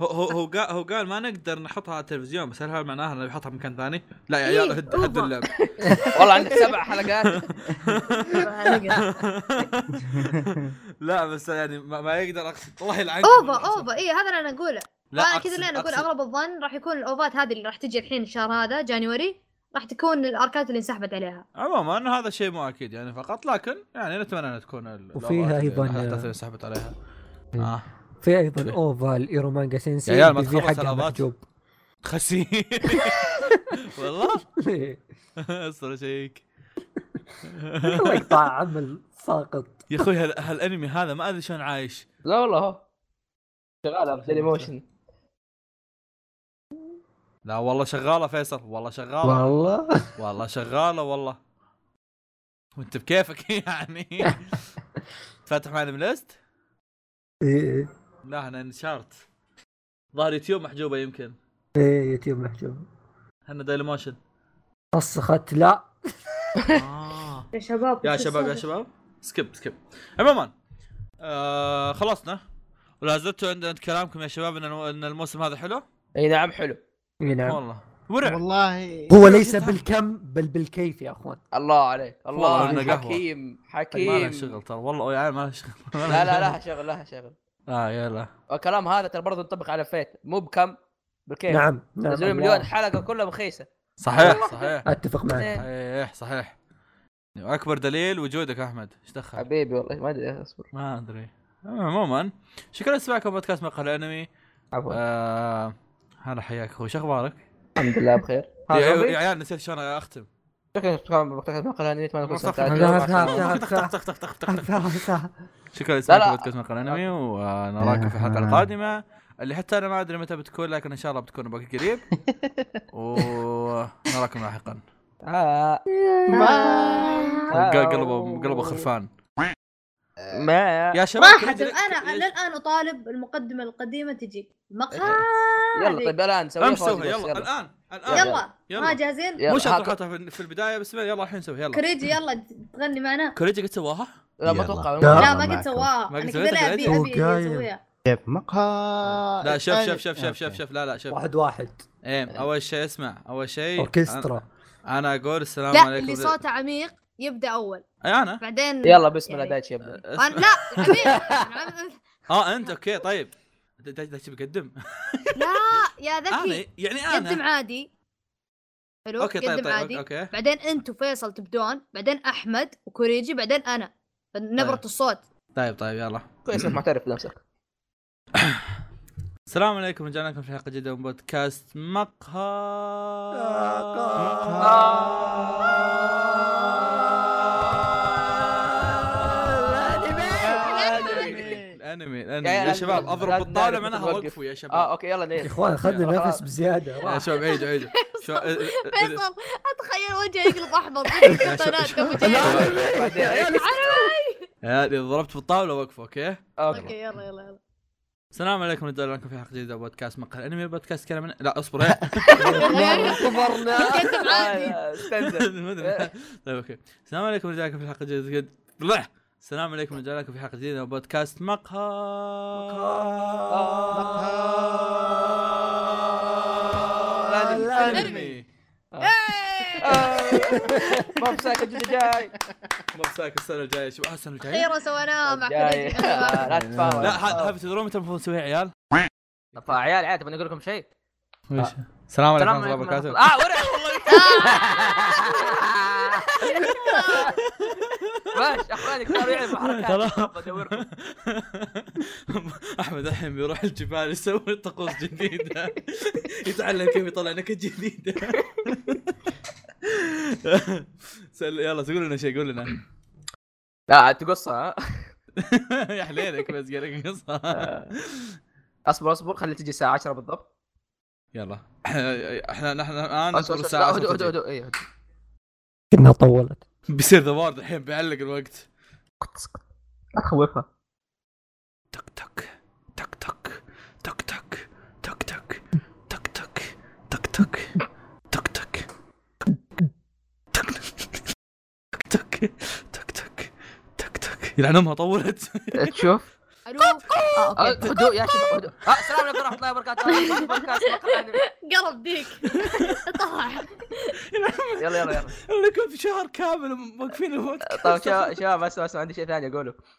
B: هو هو هو قال هو قال ما نقدر نحطها على التلفزيون بس هل هذا معناها انه بيحطها في مكان ثاني؟ لا يا
D: إيه،
B: عيال هد هد
D: أوفر.
B: اللعب
A: والله عندك سبع
B: <laughs>
A: حلقات
B: لا بس يعني ما, ما يقدر اقصد الله يلعنك
D: اوفا اوفا اي إيه، هذا اللي انا اقوله
B: لا
D: فانا
B: أقصد-
D: كذا اللي انا اقول
B: أقصد-
D: اغلب الظن راح يكون الاوفات هذه اللي راح تجي الحين الشهر هذا جانيوري راح تكون الاركات اللي انسحبت عليها
B: عموما هذا شيء مو اكيد يعني فقط لكن يعني نتمنى انها تكون ال-
C: وفيها
B: الأوضاع
C: أيضاً-
B: الاحداث اللي سحبت عليها
C: إيه.
B: اه
C: في ايضا اوفال ايرو مانجا سينسي
B: يا عيال ما
C: بي في
B: تخلص
C: حقها
B: الأوفات.
C: محجوب
B: تخسي
D: <laughs>
B: والله <laughs>
C: <laughs>
B: اصبر اشيك
C: الله يقطع عمل ساقط
B: يا اخوي هال- هالانمي هذا ما ادري شلون عايش
A: لا والله هو شغاله بديلي موشن
B: لا والله شغاله فيصل والله شغاله
C: والله
B: والله شغاله والله وانت بكيفك <laughs> يعني فاتح معنا من ليست
C: ايه
B: لا احنا انشارت ظهر يوتيوب محجوبه يمكن
C: ايه يوتيوب محجوب
B: احنا دايلي موشن
C: فسخت لا
B: آه.
D: يا شباب
B: يا شباب يا شباب سكيب سكيب عموما آه خلصنا ولا زلتوا عند عند كلامكم يا شباب ان ان الموسم هذا حلو؟
A: اي نعم حلو
C: إيه نعم
B: والله ورع
E: والله
C: هو ليس بالكم بل بالكيف يا اخوان
A: الله عليك
B: والله
A: الله
B: عندنا
A: عليك
B: قهوة. طيب،
A: حكيم
B: ما لها
A: حكيم
B: شغل ترى والله يا عيال ما لها شغل <laughs>
A: لا لا
C: <laughs>
A: لها شغل لها شغل
B: اه يلا
A: والكلام هذا ترى برضه ينطبق على فيت مو بكم بالكيف
C: نعم نعم
A: نزلوا
C: الله.
A: إيه. مليون حلقه كلها بخيسه
B: صحيح صحيح
C: اتفق معك
A: إيه.
B: صحيح صحيح اكبر دليل وجودك احمد ايش دخل؟
A: حبيبي والله ما ادري اصبر
B: ما ادري عموما شكرا لسماعكم بودكاست مقهى الانمي
A: عفوا
B: آه هلا حياك اخوي شو اخبارك؟
A: الحمد لله <laughs> بخير
B: يا- يا عيال نسيت شلون <laughs> اختم
A: شكرا لكم بودكاست مقهى الانمي اتمنى يكون
B: مرة
A: استمتعتوا.
B: أخرى.
A: مع السلامة.
B: شكرا
A: لا
B: لسماعكم
A: لا.
B: بودكاست مقهى الانمي ونراكم في <laughs> الحلقه القادمه اللي حتى انا ما ادري متى بتكون لكن ان شاء الله بتكون باقي <laughs> قريب ونراكم <laughs> لاحقا
A: آه.
B: قل- قلبه قلبه خرفان
A: ما
B: يا شباب
D: ما
B: كل
D: حد
B: أدري-
D: انا
B: كل-
D: للان اطالب المقدمه القديمه
B: إيه.
D: تجي مقهى
A: يلا طيب الان سوي
B: امس سويها يلا الان الان
D: يلا
B: آه، يلا.
D: ما جاهزين
A: يلا،
B: مش
A: ها-
B: حطيتها في- في البدايه بس يلا الحين نسويها يلا
D: كريجي يلا تغني معنا
B: كوريجي قد سواها؟
A: لا ما
E: يلا.
A: اتوقع
C: لا.
D: لا ما
E: معكم.
D: قد سواها
B: ما قد سويتها
D: انا كذا ابي
C: بالعيد.
D: ابي
C: وقايل.
D: اسويها
E: كيف طيب، مقهى
B: لا شوف شوف شوف
E: أوكي.
B: شوف شوف شوف لا لا شوف
C: <laughs> واحد واحد
B: ايه اول شيء اسمع اول
A: إيه.
B: شيء
C: اوركسترا
B: آه، أنا- انا اقول السلام
D: لا
B: عليكم إيه،
D: اللي صوته عميق يبدا اول
B: اي انا
D: بعدين
A: يلا بسم الله
D: يعني-
A: دايتش يبدا
D: أنا-
B: <laughs>
D: لا عميق أنا عم-
B: اه انت اوكي طيب د- د- د- تبي تقدم
D: لا يا
B: انا
D: ذكي
B: يعني
D: قدم
B: انا
D: عادي حلو
B: اوكي طيب
D: قدم
B: طيب
D: عادي
B: اوكي
D: بعدين انت وفيصل تبدون بعدين احمد وكوريجي بعدين انا نبرة
B: طيب.
D: الصوت
B: طيب طيب يلا
A: كويس إنك معترف بنفسك
B: السلام عليكم رجعنا لكم في حلقه جديده من بودكاست مقهى
C: آه.
B: آه، الانمي الانمي
A: يا-
B: يا شباب اضرب
A: لازم
B: بالطاوله
A: نعرف
B: معناها
A: نوقف.
B: وقفوا يا
A: اه
B: شباب
A: اوكي يلا
C: يا
A: نيل
C: اخوان اخذنا
A: يلا،
C: نفس
A: إيه. خلاص. إيه.
C: بزياده
B: يا
C: راح.
B: شباب عيدوا عيدوا شو- اه- اه- اه-
D: <laughs> فيصل اتخيل وجهه يقلب احمر كل القناة أبو جهل.
A: بعدين.
B: يا اللي ضربت بالطاوله وقفوا اوكي
A: اوكي
D: اوكي يلا يلا يلا
B: السلام عليكم رجعنا لكم في حلقه جديده من بودكاست مقهى الانمي بودكاست كلام لا اصبر <laughs> ايه.
A: مرة كبرنا
D: قدم عادي.
A: آه، استنزف
B: <laughs> ما أدري. طيب اوكي السلام عليكم رجعنا لكم في حلقه جديده بلح. السلام عليكم ورجعنا لكم في حلقه جديده من بودكاست مقهى
A: الأنمي.
B: الانمي
D: إيه،
A: آه. ما بساك الجديد جاي
B: ما بساك السنه الجايه شوف آه، السنه الجايه
D: خير سويناها مع
A: جاي
D: كل
A: لا تفاوض
B: لا ح- حاب تدرون متى المفروض نسويها يا عيال؟
A: فعيال عاد تبغى نقول لكم شيء
B: وش؟ السلام عليكم
A: السلام
B: ورحمه الله
A: عليكم ورحمة
B: وبركاته
A: الله- اه ورع <laughs> والله ماشي اخوانك صاروا يعرفوا حركات
B: ترى-
A: بدوركم
B: <laughs> احمد الحين بيروح الجبال يسوي طقوس جديده <laughs> يتعلم كيف يطلع نكت <laughs> جديده سل... يلا تقول لنا شيء قول لنا <laughs>
A: لا عاد تقصها ها؟
B: يا حليلك بس قالك قصه
A: اصبر اصبر آه. خلي تجي الساعه 10 بالضبط
B: يلا <laughs> احنا احنا نحن الان
A: أصبر-
B: نصبر
A: أصبر-
B: الساعه
A: لا، هدوء
B: عشان
A: هدوء
B: تجي.
A: هدوء إيه، هدوء.
C: كنا طولت
B: بيصير ذا وورد الحين بيعلق الوقت
A: لا تخوفها
B: تك تك تك تك تك تك تك تك تك تك تك تك تك تك تك تك تك تك تك تك يلعن امها طولت
A: تشوف
D: الو آه،
A: آه،
D: أوكي.
A: هدوء يا شباب هدوء آه، السلام عليكم ورحمه الله وبركاته بودكاست مقهى أنمي.
D: قرب ديك <laughs> طلع
A: يلا يلا يلا
B: لكم في شهر كامل موقفين الوقت
E: <laughs>
A: طيب شباب- شباب بس بس عندي شيء ثاني اقوله